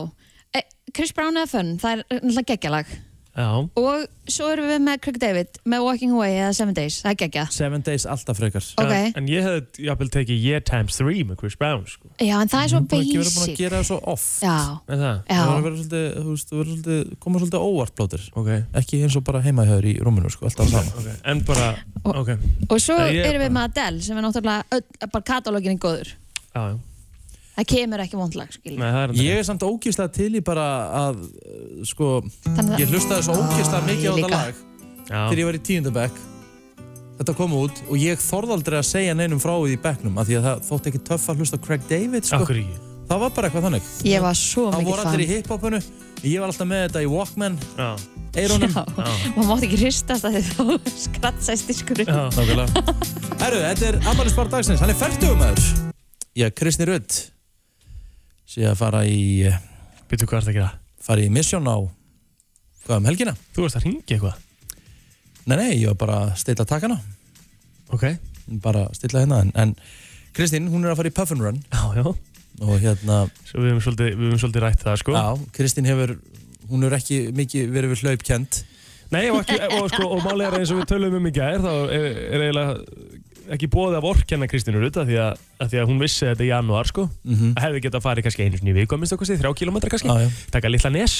S2: Eh, Chris Brown eða Fun, það er náttúrulega geggjalag
S3: Já.
S2: og svo erum við með Craig David með Walking Away eða Seven Days, það er geggjað
S1: Seven Days alltaf frekar.
S2: Ok.
S3: En, en ég hefði jafnvel tekið Yeah times 3 með Chris Brown sko.
S2: Já, en það er svo
S1: Bara ekki verið búin að
S2: basic
S1: gera það svo oft.
S2: Já,
S3: Er það?
S1: Það verður að
S2: já,
S1: vera svolítið, þú veist, þú verður svolítið, koma svolítið óvart blótir.
S3: Ok,
S1: Ekki eins og bara heimahjöður í rúminu, sko, alltaf saman.
S3: ok, en bara,
S2: Og-
S3: ok
S2: og svo
S3: Nei, ég er
S2: erum við
S3: bara-
S2: með Adele sem er náttúrulega, öll, bara katalógin er góður
S3: Já, já,
S2: Það kemur ekki vondlag, skilur
S3: nei það er
S1: Ég er samt ógeðslega til í bara að, uh, sko,
S2: Þannig að-
S1: ég hlustaði svo ógeðslega
S2: Æ,
S1: mikið á
S2: líka.
S1: þetta lag þegar
S3: Já,
S1: ég var í tíundabæk. Þetta kom út og ég þorði aldrei að segja neinum frá því í bæknum af því að það þótti ekki töff að hlusta á Craig David, sko.
S3: okkur ekki
S1: Það var bara eitthvað þannig.
S2: Ég var svo
S1: Það
S2: mikið
S1: voru
S2: fan
S1: allir í hiphopinu, ég var alltaf með þetta í Walkman,
S3: Já,
S1: eyrunum.
S2: Já, maður mátt ekki hristast að þið *laughs* þá skrattsæst í skurinn
S3: já,
S1: Nákvæmlega. *laughs* Herru, þetta er ammælisbar dagsins, hann er færtugum aður. Já, Kristni Rudd sé að fara í,
S3: býttu hvað er það að gera?
S1: fara í misjón á, hvað um helgina?
S3: Þú varst að ringi eitthvað
S1: Nei, nei, ég var bara að stilla takana,
S3: Ok
S1: bara að stilla hérna, en, en Kristín, hún er að fara í Puff and Run
S3: Já, já,
S1: og hérna,
S3: svo við hefum svolítið, við hefum svolítið rætt það sko
S1: já, Kristín hefur, hún er ekki mikið verið við hlaup kent.
S3: Nei, og, ekki, og, sko, og málið er eins og við tölum um í gær þá er, er eiginlega ekki bóðið að vorkenna Kristínu Rutt hérna, af því að, að því að hún vissi þetta í janúar sko
S1: Mhm.
S3: Hefði getað farið kannski einu sinni í viku að minnst okkur þrjá kilometra kannski
S1: Já, já.
S3: Taka litla nes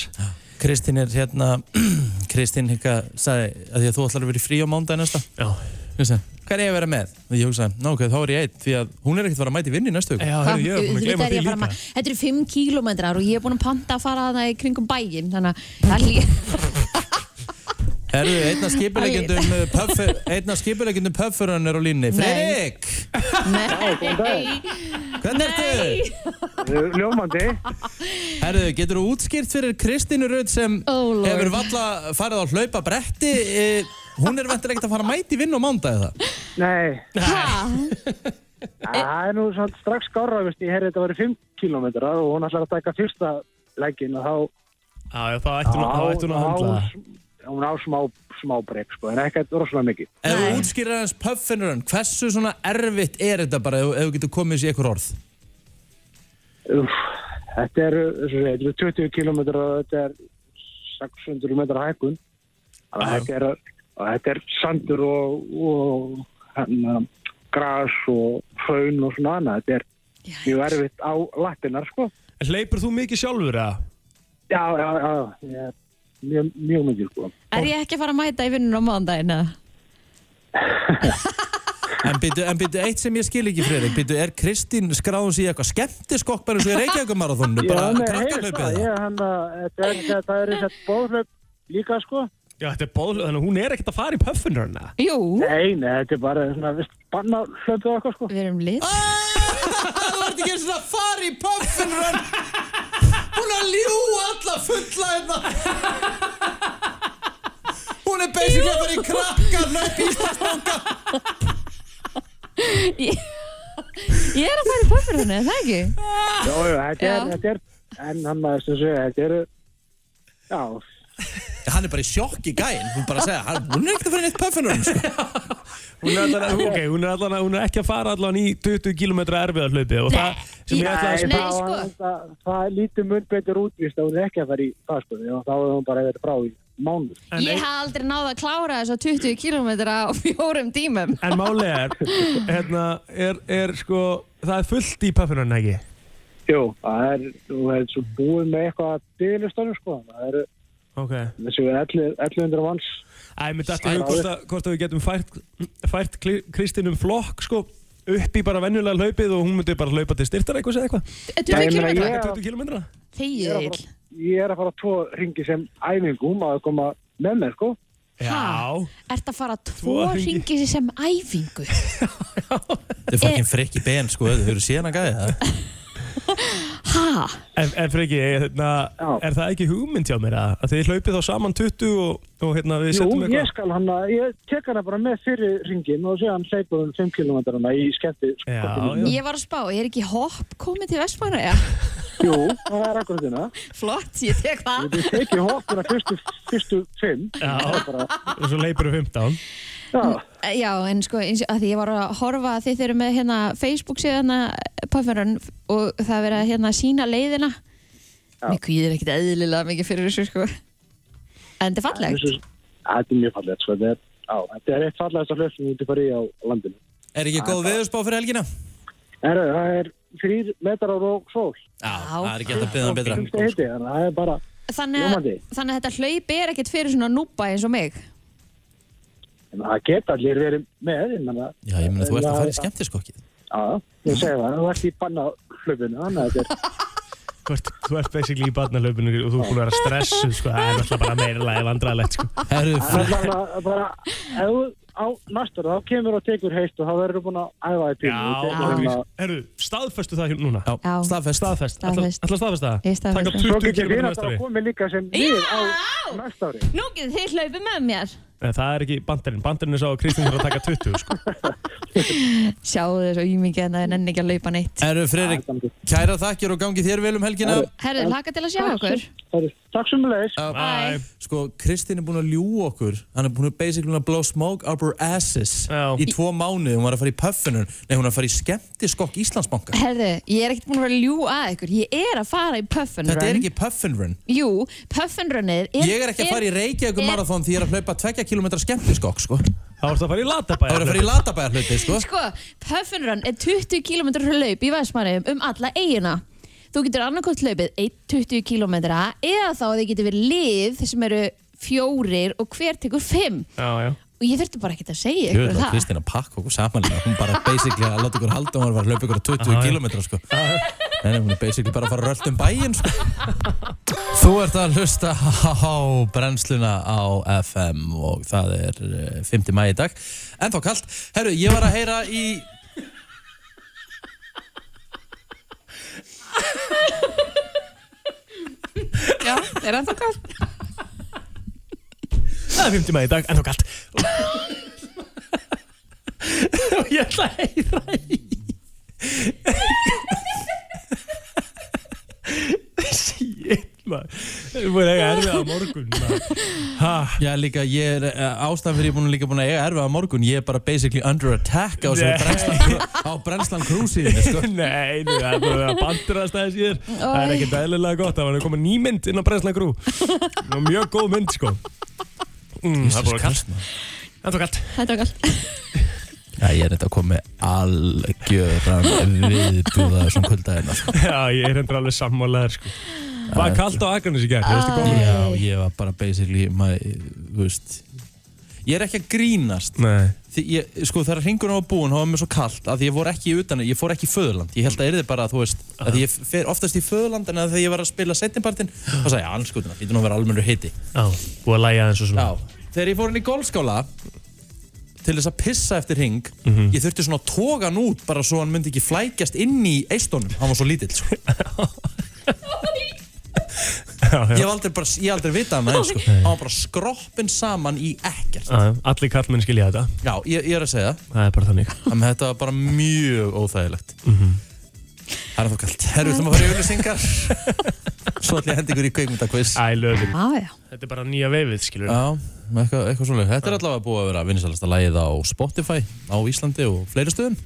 S1: Kristín er hérna, *clears throat* Kristín hérna sagði að því að þú ætlar að vera í frí á mándaginn næsta.
S3: Já,
S1: Kristín, hvað er ég að vera með? Og ég hugsaði, ná ok, þá er ég einn, því að hún er ekkert að fara að mæta í vinni næstu.
S3: já,
S2: Hvað-
S3: heyrðu, ég er búin að
S2: auðvitað
S3: gleyma
S2: er ég
S3: því
S2: að fara
S3: líka
S2: ma- Þetta eru 5 kílómetrar og ég er búin að panta að fara þarna í kringum bæinn þannig að það er líka
S1: Herðu, einna skipulegjendum puff, einna skipulegjendum puffurinn er á línni.
S2: Nei.
S1: Fredrik,
S2: Nei,
S1: hvað Hvernig ertu?
S6: Ljómandi.
S1: Herðu, getur þú útskýrt fyrir Kristínu Rödd sem
S2: Oh, Lord.
S1: hefur valla farið á hlaupa bretti e, Hún er ventur ekkert að fara að mæti vinn á mándagi það
S6: Nei,
S2: Ha?
S6: það er nú samt strax skára, veist, ég heyrði þetta væri 5 km og hún ætlar að taka fyrsta leggin og þá...
S3: Já, já, þá ætti hún- þá ætti hún að handla það.
S6: það. Hún á smá, smá breyk, sko, en ekkert rosalega mikið.
S1: Ef þú útskýrir hans pöffinur hann, hversu svona erfitt er þetta bara ef, ef þú getur komið sér ykkur orð?
S6: Uff, þetta eru er 20 km og þetta er 600 metra hækkun. Þannig að Þetta er, og þetta er sandur og, og hann, gras og hraun og svona annað. Þetta er mjög erfitt á lattinar, sko.
S3: En hleypur þú mikið sjálfur eða?
S6: Já, já, já, já. ég er Mjög, mjög mikið, sko.
S2: Er ég ekki að fara að mæta í vinnun á mánudaginn? eða?
S1: En býtu, en býtu, eitt sem ég skil ekki Fredrik, býtu, er Kristín skráðum sér í eitthvað skemmtiskokk bara
S6: *laughs*
S1: eins og í Reykjavíkumarathónu, bara
S6: nei,
S1: *laughs*
S6: heyrðu
S1: krakkarlaupið
S6: það,
S1: það?
S6: ég, hann, að þetta er, þetta er þetta bóðlöp líka, sko.
S3: Já, þetta er bóðlöf, þannig að hún er ekkert að fara í pöffunur hana.
S2: Jú,
S6: Nei, nei, þetta er bara svona, vist, banna hlöpið okkar, sko.
S2: við erum lit.
S1: Þú ert ekki eins og að fara í puffin run Hún er að ljúa alla fulla hérna Hún er basically að fara í krakkarlaup í Íslandsbóka
S2: Ég ég er að fara í pöffurðunni, er það ekki?
S6: Jó, jó, þetta er,
S2: Já.
S6: þetta er, en hann maður sem segja, þetta eru, já,
S1: Hann er bara í sjokk í gæinn, hún bara að segja hann- Hún er ekkert að fara í neitt puffin run sko.
S3: Hún er, allan, að- ok, hún, er allan, að- hún er ekki að fara allan í 20 km erfiðar hlaupið og það sem ég ætla að
S2: Nei,
S3: spila
S6: þá
S2: sko.
S6: hann- það, það lítið mun betur útvist að hún er ekki að fara í fastbúði og þá er hún bara verið frá í mánuð.
S2: Ég hef aldrei náða að klára þess að 20 km á fjórum tímum.
S3: En máli er, hérna, er, er sko, það er fullt í pöffunarinn ekki?
S6: Jú, það er, þú er svo búin með eitthvað að bygglistanum, sko, það eru
S3: Ok.
S6: þessu 11 1100 manns.
S3: Æ, mér dætti við hvort að, hvort að við getum fært, fært Kli- Kristín um flokk, sko, upp í bara venjulega hlaupið og hún myndi bara hlaupa til styrtar eitthvað eða eitthvað.
S6: Nei,
S2: 20
S6: ég meina,
S2: km?
S6: ég-
S3: Taka 20 km?
S6: Ég
S2: Þegið
S6: er að
S2: ill.
S6: fara, ég er að fara tvo ringi sem æfingum að koma með mér, sko.
S3: Já.
S2: Ert að fara tvo
S3: hringi.
S2: ringi sem æfingu?
S1: Þið
S6: Eh.
S1: fokkin frikki ben sko, þau eru síðan að gæja það
S2: Ha?
S3: En, en Freki, hérna,
S6: Já.
S3: er það ekki hugmynd hjá mér að, að þið hlaupið þá saman 20 og, og hérna við
S6: Jú,
S3: setjum
S6: ég
S3: eitthvað?
S6: skal hann að, ég tek hana bara með fyrir ringin og sé hann hleypa um 5 km í skemmti.
S3: Já, já.
S2: Ég var að spá, er ekki hopp komið til Vestmanna? Já,
S6: Jú, það er akkurat þína.
S2: flott, ég tek það.
S6: Við tekið hoppina fyrstu, fyrstu fimm.
S3: Já.
S6: Það er bara,
S3: Og svo leipur við 15.
S6: já,
S2: Já, en sko, eins og að því ég var að horfa að þið þeirra með hérna Facebook síðana Pafferun og það verið að hérna sína leiðina. Mér kvíðir ekkit eðlilega mikið fyrir þessu sko. En þetta er fallegt.
S6: þessu, þetta er mjög fallegt, sko. Þetta er, á, þetta er eitt fallegast af hlöfnum út í fari á landinu.
S1: Er ekki góð veðurspá fyrir helgina?
S6: Er, það er þrýr metrar og sól.
S1: Já, það er ekki hægt að byggja það betra
S6: Þetta heiti, þannig að það er bara,
S2: Þannig að,
S6: Ljómandi.
S2: þannig að þetta hlaup er ekkit fyrir svona núpa eins og mig.
S6: en það geta allir verið með, ég menna.
S1: Já, ég meina þú ert að fara í skemmtiskokkið
S6: Já, ég segi það, þú ert í banna hlöfnum, þannig að þetta er,
S3: Þú ert, þú ert basically í barnalöfinu og þú er búin að vera stressuð, sko, það er alltaf bara meirlega vandræðilegt, sko.
S1: Herru,
S6: það er bara, bara, ef þú á næstur, þá kemur og tekur heitt og þá verður þú búin að æfa í
S3: Já,
S6: bílnum. Þú tekur
S3: ángríns.
S6: hérna-
S3: Herru, staðfestu það hér núna?
S1: Já,
S2: Já.
S1: staðfest
S3: Staðfest,
S2: Staðfest.
S3: ætla staðfesta það?
S2: Ég staðfesta.
S3: Taka
S6: Svo
S3: 20
S6: getur
S3: km
S6: við
S3: næsta
S6: náttúrulega
S3: ári
S6: komið líka sem við á næsta ári.
S2: Nú getur þið hlaupið með mér.
S3: Nei, það er ekki bandarinn, bandarinn er sá að Kristín þarf að taka 20 sko.
S2: Sjáðu þessu ímikið en það er nenni ekki að laupa neitt.
S1: Herru, Fredrik, kæra þakkir og gangi þér vel um helgina
S2: Herðu, hlaka til að sjá okkur.
S6: Herru, Takk sem leis.
S2: Bye.
S1: Sko, Kristinn er búin að ljúa okkur Hann er búin að basically búin að blow smoke up her asses
S3: Já.
S1: Í tvo mánuði, hún var að fara í puffinun Nei, hún var að fara í skemmtiskokk Íslandsbanka
S2: Herðu, ég er ekkert búin að vera að ljúa að ykkur. Ég er að fara í Puffin
S1: Þetta er
S2: Run.
S1: ekki puffin run
S2: Jú, Puffin Runnið er...
S1: Ég er ekki að fara í Reykjavík um
S2: er-
S1: marathon því ég er að hlaupa 2 km skemmtiskokk, sko Það
S3: Það voru að fara í latabæð
S1: er að fara í latabæjar hluti, sko
S2: Sko, Puffin Run er 20 km hlaup í Vestmannaum um alla eigina. Þú getur annarkvæmt hlaupið 1-20 km eða þá þið getur verið lið sem eru fjórir og hver tekur fimm.
S3: Já, já
S2: Og ég þurfti bara ekki að segja
S1: Jöfnir
S2: ykkur
S1: að
S2: það.
S1: Kristín að pakka okkur saman hérna. Hún bara basically að láta ykkur halda að Hún var að hlaupa ykkur 20 km sko. Nei, nei, hún er basically bara að fara rölt um bæinn sko. Þú ert að hlusta á brennsluna á FM og það er eh, 5. mæ í dag En þá kallt Herru, ég var að heyra í
S2: Já, það er ennþá kalt.
S3: Það er 50 maður í dag, en þá galt Og ég ætla að heyra í Shit maður Það er búin að eiga erfið á morgun maður Ha,
S1: Já, líka, ég er eh, ástæðan fyrir ég er búin, líka búin að eiga erfið á morgun. Ég er bara basically under attack á,
S3: Nei.
S1: brennslan, á brennslan krúsiðinu, sko.
S3: Nei, þú, það er búin að vera bandurast aðeins í þér Það er ekkert eðlilega gott, það var að koma ný mynd inn á Brennslan Grú Og mjög góð mynd sko mm, Það er búin að kalt
S1: maður.
S3: Það er kalt
S2: *laughs* Þetta var kalt.
S1: Já, ég er þetta að koma með algjöran viðbúða þessum kvöldaðina, sko.
S3: Já, ég er hendur alveg sammálaður sko. Var kallt á Akranis í gerð, veistu góð?
S1: Já, ég var bara basically, maður, þú veist. Ég er ekki að grínast.
S3: Nei.
S1: Því ég, sko þegar hringurinn var búinn, þá var mér svo kallt að því ég fór ekki utan, ég fór ekki í föðurland ég held að yrði bara, þú veist, að því ég fer oftast í föðurland en að þegar ég var að spila setjumpartin þá sagði ég, "Ah, anskotina, lítur nú að vera almennur hiti
S3: Já, búið að læja aðeins og svona.
S1: Já, þegar ég fór inn í golfskála til þess að pissa eftir hring ég þurfti svona að toga hann út bara svo hann myndi ekki flækjast inn í eistónum hann var svo lítill, sko.
S3: Já, já.
S1: ég hef aldrei, bara, ég hef aldrei vitað hann aðeins, sko. hann var bara skroppin saman í ekkert
S3: Já, já, Allir kallmenn skilja þetta,
S1: Já, ég, ég er að segja það
S3: það er bara þannig.
S1: Þannig að þetta var bara mjög óþægilegt Það er þá kallt Herru, þú maður að fara í *laughs* auðlýsingar Svo ætlum ég að henda ykkur í kveikmyndakviss
S3: Æ, lögur.
S2: Já, já.
S3: Þetta er bara nýja veifið, skilur.
S1: Já, eitthvað, eitthvað svoleið Þetta er allavega búið að vera vinsalasta lagið á Spotify á Íslandi og fleiri stöðum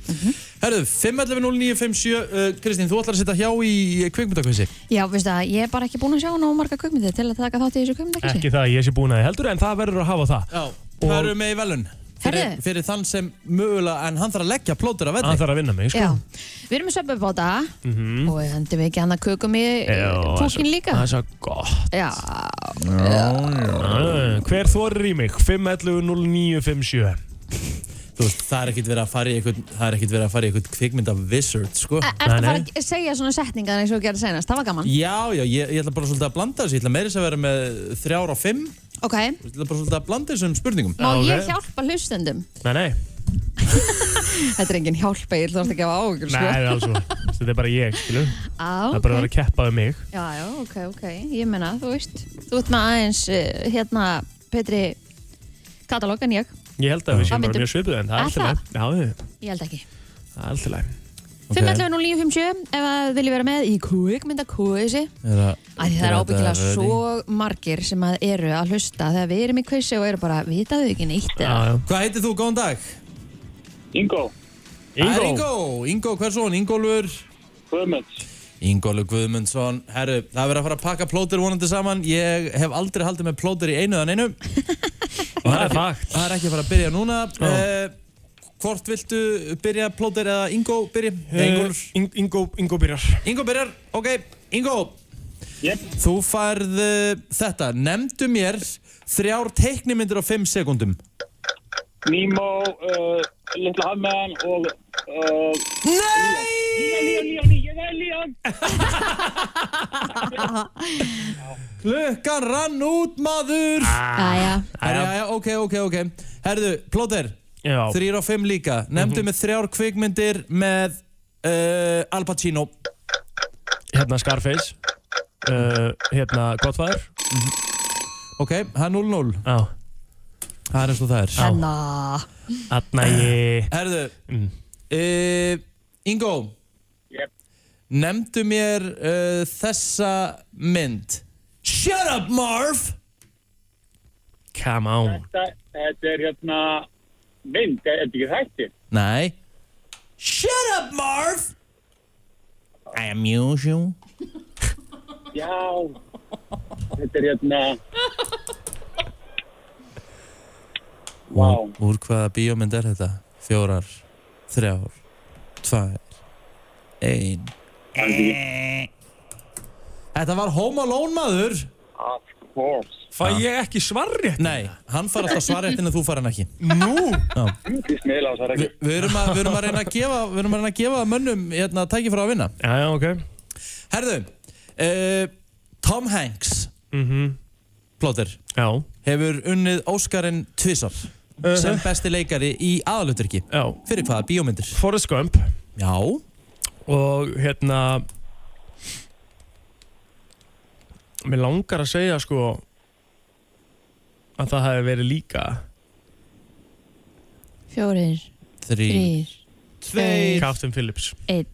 S1: Herru, 511-0957 uh, Kristín, þú ætlar að setja hjá í kveikmyndakvissi
S2: Já, veistu það, ég er bara ekki búin að sjá nóg marga kveikmyndir til að taka þátt í þessu kveikmyndakvisi.
S3: Ekki það að ég sé búin að þið heldur, en það verður að hafa það.
S1: Já, það eru með í velun fyrir,
S2: Herru.
S1: fyrir þann sem mögulega en hann þarf að leggja plótur að
S3: Hann
S1: velli
S3: þarf að vinna mig, sko. Mhm.
S2: Já, við erum með söpubóta mm -hmm. og hendur við ekki hann að kökum í
S3: Já,
S2: fólkin eh, líka.
S3: Það er svo Sko, gott.
S2: Já,
S3: Ah, Hver þorir í mig? 511-0957.
S1: Þú veist, Það er ekkit verið að fara í eitthvað það er ekkit verið að fara í eitthvað kveikmyndavissard sko.
S2: er þetta
S3: Nei,
S2: að fara
S3: nei.
S2: að segja svona setningar eins og við gerðum senast? Það var gaman.
S1: Já, já, ég, ég ætla bara svolítið að blanda þessu, ég ætla meira þess að vera með þrjár og fimm,
S2: Ok,
S1: ég ætla bara svolítið að blanda þessum spurningum.
S2: má
S3: Já,
S2: ég
S3: ok.
S2: hjálpa hlustendum?
S3: Nei, nei.
S2: Þetta er engin hjálpa, ég ætla ekki að hafa áhugur,
S3: Nei,
S2: sko.
S3: það er alls svo. Þetta er bara ég, skilur.
S2: Á,
S3: Það er bara að vera
S2: ok.
S3: að keppa við mig.
S2: Já, já, ok, ok. Ég meina, þú veist, þú ert með aðeins, eh, hérna, Petri, katalóg en ég.
S3: Ég held að við
S2: Hvað
S3: séum bara
S2: myndum-
S3: mjög svipuð, en það
S2: Er
S3: er alltaf læg. Já, já,
S2: Ég held ekki.
S3: það er alltaf læg.
S2: 511 0957 ef að vilji vera með í kveikmyndakvisi.
S1: Er að,
S2: Æ, því það er ábyggilega svo margir sem að eru að hlusta þegar við erum í kvissi og eru bara, vitaðu ekki neitt
S3: Já,
S2: eða?
S3: já.
S1: Hvað heitir þú, góðan dag?
S7: Ingo,
S1: Það er Ingo, Ingo, hversson, Ingólfur?
S7: Guðmunds.
S1: Ingólfur Guðmundsson, herru, það er verið að fara að pakka plótur vonandi saman, ég hef aldrei haldið með plótur í einu en einu,
S3: Það er fakt.
S1: það er ekki að fara að byrja núna. Uh, hvort viltu byrja plótur eða Ingo byrja? Eða Ingólfur?
S3: Eh, Ing- Ingo, Ingo byrjar.
S1: Ingo byrjar, ok, Ingo
S7: Yep.
S1: Þú færð uh, þetta, nefndu mér þrjár teiknimyndir á 5 sekundum
S7: Nemo, uh, Little Hamman og... Uh,
S1: Nei!
S7: Leon, Leon, Leon, ég er Leon!
S1: *laughs* Klukkan rann út maður
S2: Æja,
S1: Herra, já, já, ok, ok, ok Herðu, Plóter,
S3: Já.
S1: þrýr á 5 líka Nefndu mér þrjár kvikmyndir með uh, Al Pacino
S3: Hérna Scarface. Uh, hérna Godfather.
S1: Ok, það er 0-0
S3: Já.
S1: Það er eins og það er
S2: enna,
S3: Þarna
S1: Eh.
S3: ég...
S1: Herðu,
S3: Mm.
S1: uh, Ingo
S7: Yep.
S1: Nefndu mér uh, þessa mynd Shut up Marv
S3: Come on.
S7: Þetta, þetta er hérna mynd, er þetta ekki þættir?
S1: Nei Shut up Marv I amuse you
S7: Já, þetta er hérna... Vá.
S1: Úr, úr hvaða bíómynd er þetta? Fjórar, þrjár, tvær, ein Eh. Þetta var Home Alone maður Ah.
S7: Of course.
S3: Fæ ég ekki svarri?
S1: Nei, hann far alltaf svarréttin en þú far hann ekki
S3: Nú?
S7: Þið smila á þessar
S1: Vi-
S7: ekki.
S1: Við erum að, við erum að reyna að gefa, við erum að reyna að gefa mönnum hérna, tæki frá að vinna
S3: Já, já, ok.
S1: Herðu, uh, Tom Hanks
S3: Mm
S1: plóter,
S3: Já.
S1: hefur unnið Óskarinn Tvissar sem besti leikari í aðalutverki
S3: Já.
S1: fyrir hvaða bíómyndir?
S3: Forrest Gump
S1: Já,
S3: og hérna... Mér langar að segja sko að það hefði verið líka
S2: Fjórir,
S1: Þrý,
S2: þrýr,
S1: tveir
S3: Captain Phillips
S2: einn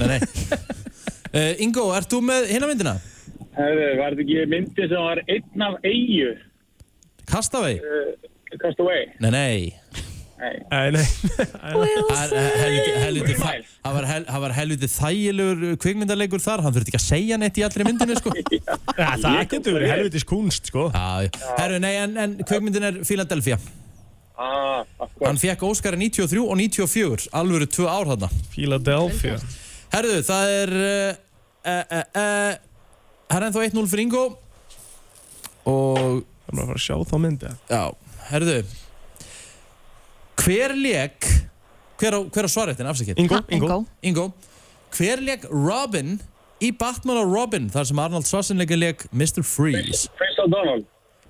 S1: Nei, nei uh, Ingo, ert þú með hinna myndina?
S7: Herðu, eh, var þetta ekki myndi sem var einn af eh, eigu?
S1: Kastavei?
S7: Cast away.
S1: Nei, nei
S3: Nei, nei *laughs*
S1: Það er helviti- helviti
S7: Three
S1: þæ-
S7: miles.
S1: það var hel- það var helviti þægilegur kvikmyndarleikur þar Hann þurfti ekki að segja neitt í allri myndinu sko
S3: ja, Það getur verið helvitis kunst sko
S1: Já, já. Herru, nei, en, en kvikmyndin er Philadelphia
S7: Ah, of
S1: Hann
S7: course.
S1: fekk Óskari 93 og 94 Alvöru tvö ár þarna
S3: Philadelphia
S1: Herru, það er uh, uh, uh, uh, Það er ennþá 1-0 fyrir Ingo Og
S3: Það er bara að fara að sjá þá myndi
S1: Já, herðu Hver leik Hver á, hver á svaretin, afsakið
S3: Ingo, Ingo
S1: Ingo, hver leik Robin í Batman og Robin þar sem Arnold Schwarzenegger leik Mr. Freeze
S7: Chris O'Donnell.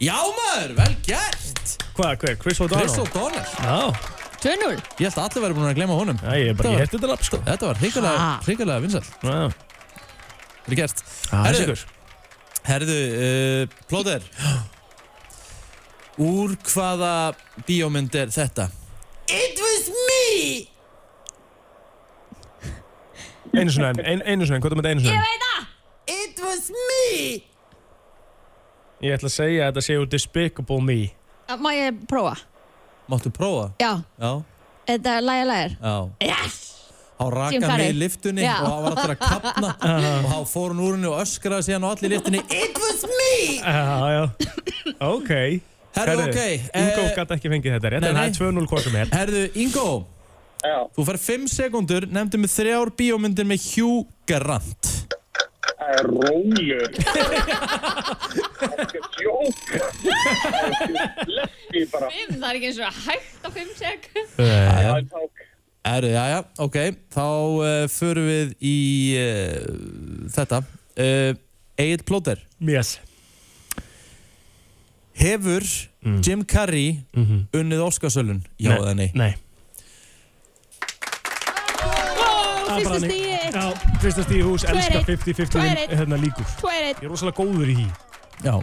S1: Já maður, vel gert
S3: Hvað, hver?
S1: Chris
S3: Chris O'Donnell?
S1: O'Donnell
S3: Já,
S2: 2-0
S1: Ég held að allir væri búin að glema honum
S3: Já, ég er bara, ég hérti þetta lapp sko
S1: Þetta var hrikalega, hrikalega vinsall
S3: Já,
S1: Þetta er gert
S3: það er
S1: Herðu.
S3: sikur
S1: Herðu, uh, plóter Úr hvaða bíómynd er þetta? It was me
S3: Einu svona enn, ein, einu svona enn, hvað er með þetta einu svona enn?
S1: It was me
S3: Ég ætla að segja að þetta séu Despicable Me
S2: Ah, Má ég prófa?
S1: Máttu prófa?
S2: Já,
S1: Já,
S2: þetta er lægja lægir
S1: já
S2: Yes!
S1: Há
S2: Jim
S1: raka
S2: Carrey.
S1: mig í liftunni
S2: Já.
S1: og hann var alltaf að kapna og hann fór hann úr henni og öskraði síðan og allir í liftunni It was me
S3: Já, já Ok
S1: Herðu, ok
S3: Ingo
S1: eh,
S3: gæti ekki fengið þetta rétt
S1: nei,
S3: En það
S1: nei.
S3: er 2-0 hvað sem er
S1: Herðu, Ingo
S7: Já.
S1: Þú fær 5 sekundur, nefndu með þrjár bíómyndir með Hugh Grant
S7: Það er rólur. Það er ekki að sjóka. Það er lefti bara.
S2: Það er ekki eins og hægt á 5 sek
S3: Eh,
S1: Jæja,
S7: Það er tók.
S1: herðu, jæja, ok Þá uh, förum við í uh, þetta uh, Egil Plóter
S3: Yes
S1: Hefur Jim Carrey unnið Óskarsölun? Já eða Mm. Mhm. nei?
S3: Nei
S2: Fyrsta stíði
S3: Já, fyrsta stíði hús,
S2: Tvö er
S3: elska
S2: einn. Tvö er
S3: 50-50
S2: einn.
S3: hérna líkur
S2: 2-1
S3: Ég er rosalega góður í því
S1: Já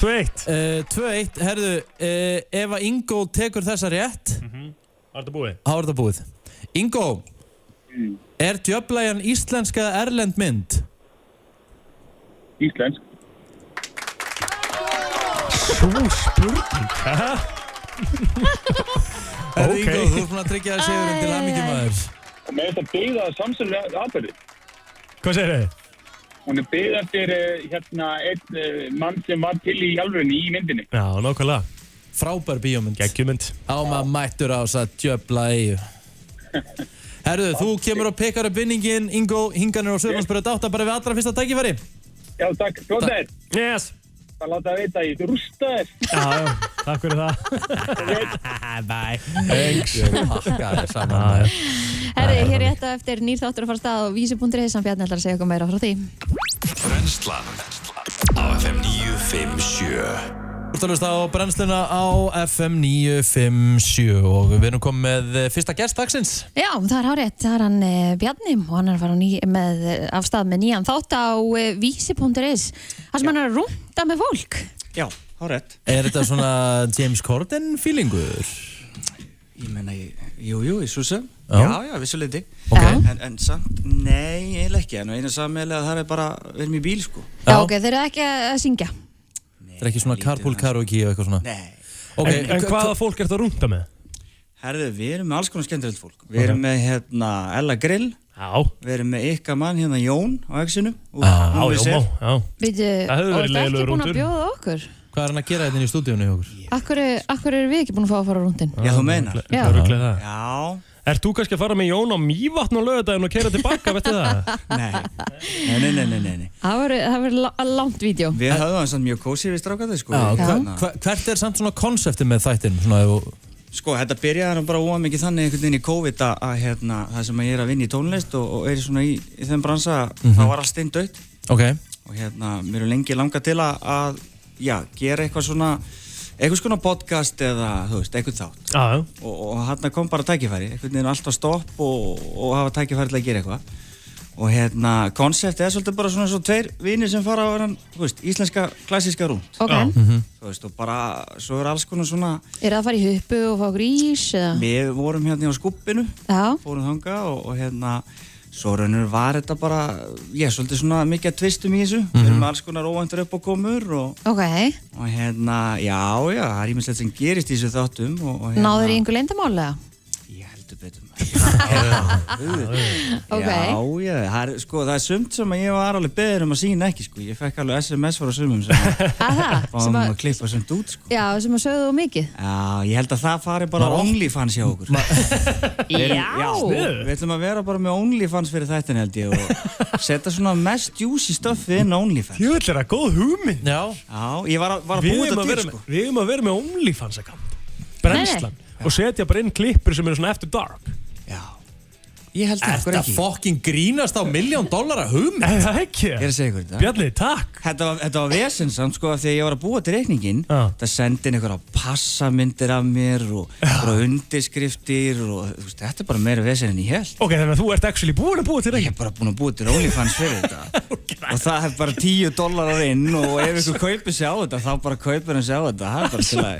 S3: 2-1
S1: Uh, 2-1, herðu, uh, ef að Ingo tekur þessa rétt,
S3: Var þetta búið?
S1: þá er þetta búið. Ingo, er djöflæjan íslenska eða erlend mynd?
S7: Íslensk.
S3: Svo spurning Hæ?
S1: Herðu
S3: Ok.
S1: Ingo, þú ert búin að tryggja þér sigurinn til hamingjum aður.
S7: Og með þetta byggða samsönlega aðbyrði.
S3: Hvað segir þið?
S7: Hún er byggð eftir eh, hérna einn eh, mann sem var til í alvegni í myndinni.
S3: Já, nákvæmlega
S1: Frábær bíómynd.
S3: Geggjumynd
S1: Á maður mættur á þess að djöflæju. Herðu, þú kemur og pekar upp vinningin, Ingo, hinganir á Söðlandsbyrðu dátta bara við allra fyrsta *laughs* tækifæri.
S7: Já, takk. Flott þær.
S3: Yes
S7: Það láta að vita að ég rústa þér.
S3: Já, já, takk fyrir það
S1: Thanks. Takka þér saman maður.
S2: Herri, hér rétt á eftir nýrþáttur að fara af stað og vísi.ri sem Bjarni ætlar að segja okkur meira frá því
S5: Brennslan á FM 957
S1: Þú ert að hlusta á brennsluna á FM 957 og við erum komið með eh, fyrsta gest dagsins.
S2: Já, það er hárétt, það er hann eh, Bjarni og hann er að fara á ný, með, eh, af stað með nýjan þátt á eh, vísi.is þar sem hann er að rúnda með fólk
S8: Já, hárætt.
S1: Er þetta svona James Corden feelingur?
S8: Ég menna, ég- jú, jú, í súsum.
S1: Já.
S8: Já, já, vissuleiti.
S1: Ok.
S2: Já.
S8: En, en samt, nei, eiginlega ekki. En einu sammelega, það er bara, við erum í bíl, sko.
S2: Já, ok, þeir eru ekki að að syngja
S1: Þetta er ekki svona
S8: lítið
S1: carpool
S8: aðeins.
S1: karaoke og eitthvað svona?
S8: Nei.
S1: Ok,
S3: En, en
S1: hva-
S3: hvaða fólk ert að rúnda með?
S8: Herðu, við erum með alls konar skemmtilegt fólk. Við erum með, hérna, Ella Grill.
S3: Já,
S8: Við erum með ykkar mann, hérna, Jón á exinu.
S3: já, já, já, já.
S2: Við,
S3: Það hefur verið
S2: og það er ekki
S3: leiðilegur
S2: búin að
S3: rúndur.
S2: bjóða okkur
S1: hvað er hann að gera þetta inn í stúdíunni hjá okkur?
S2: Akkur, akkur eru við ekki búin að fá að fara á rúndin?
S8: Já, þú meinar.
S2: Já.
S3: Það rugglaði það.
S8: Já,
S3: Ert þú kannski að fara með Jón á Mývatn á lögadaginn og kera tilbaka, veitu það?
S8: nei. Nei, nei, nei, nei, nei, nei.
S2: Það verður- það verður la- langt vídeo
S8: Við höfum það samt mjög kósi við strákaði, sko.
S1: Já, hva,
S8: Hérna.
S1: hva, hvert er samt svona konseptið með þættin? Svona, ef þú-
S8: Sko, þetta byrjaði nú bara óa mikið þannig einhvern veginn í COVID að, að hérna, það sem ég er að vinna í tónlist og, og er svona í, í þeim bransa, það var allt einn dött
S1: ok,
S8: og hérna, mér er lengi langað til að, að, já, gera eitthvað svona, eitthvað svona podcast eða, þú veist, eitthvað þátt
S3: Já, já.
S8: og, og hérna kom bara tækifæri, einhvern veginn alltaf stopp og, og hafa tækifæri til að gera eitthvað og hérna, konsept er svolítið bara svona svo tveir vinir sem fara á hann, þú veist, íslenska klassíska rúnd
S2: Ok. Já.
S8: þú veist, og bara, svo er alls konar svona
S2: Er það að fara í huppu og fá okkur ís eða?
S8: við vorum hérna á skuppinu
S2: Já,
S8: fórum þanga og, og hérna svo raunir var þetta bara ég er svolítið svona mikið að tvistum í þessu við erum með alls konar óvæntur upp og komur og,
S2: ok.
S8: og hérna, já, já það er ímislegt sem gerist í þessu þáttum og, og hérna,
S2: Náður í einhver leindamálega?
S8: ég heldur betur maður
S2: Ok.
S8: Já, *laughs* já, það er, sko, það er sumt sem að ég var alveg beður um að sína ekki, sko ég fekk alveg SMS frá sumum
S2: *laughs*
S8: sem að
S2: Að það?
S8: fáum
S2: Sem
S8: að
S2: að,
S8: klippa sumt út, sko
S2: já, sem að sögðu þú mikið?
S8: Já, ég held að það fari bara
S1: Maður-
S8: OnlyFans hjá okkur *laughs* sko,
S2: Já.
S3: Sniðugt.
S8: Við ætlum að vera bara með OnlyFans fyrir þættin held ég *laughs* og setja svona mest juicy stuffið inn á OnlyFans
S3: Jú, þetta er að góð hugmynd
S1: Já,
S8: Já, ég var að, var að
S3: Við
S8: búa
S3: eigum
S8: þetta
S3: að,
S8: til
S3: vera,
S8: sko
S3: með- við eigum að vera með OnlyFans account Brennslan Og setja bara inn klippur sem eru svona eftir dark
S8: Já, ég held það,
S1: Þetta
S8: hver ekki
S1: fokkin grínast á miljón dólar að
S3: *laughs*
S1: hugmynd
S3: Er það ekki?
S8: Ég er að segja ykkur þetta
S3: Bjarni, takk
S8: Þetta var, þetta var vesensamt sko af því að ég var að búa til reikningin
S3: Já.
S8: Það sendi inn einhverja passamyndir af mér og, og undirskriftir og þú veist, þetta er bara meira vesen en ég held
S3: Ok, þannig að þú ert actually búin að búa til
S8: Ég
S3: reikn
S8: hef bara búin að búa til OnlyFans fyrir þetta og það er bara 10 dólarar inn og ef ykkur kaupir sér á þetta þá bara kaupir hann sér á þetta það er bara til að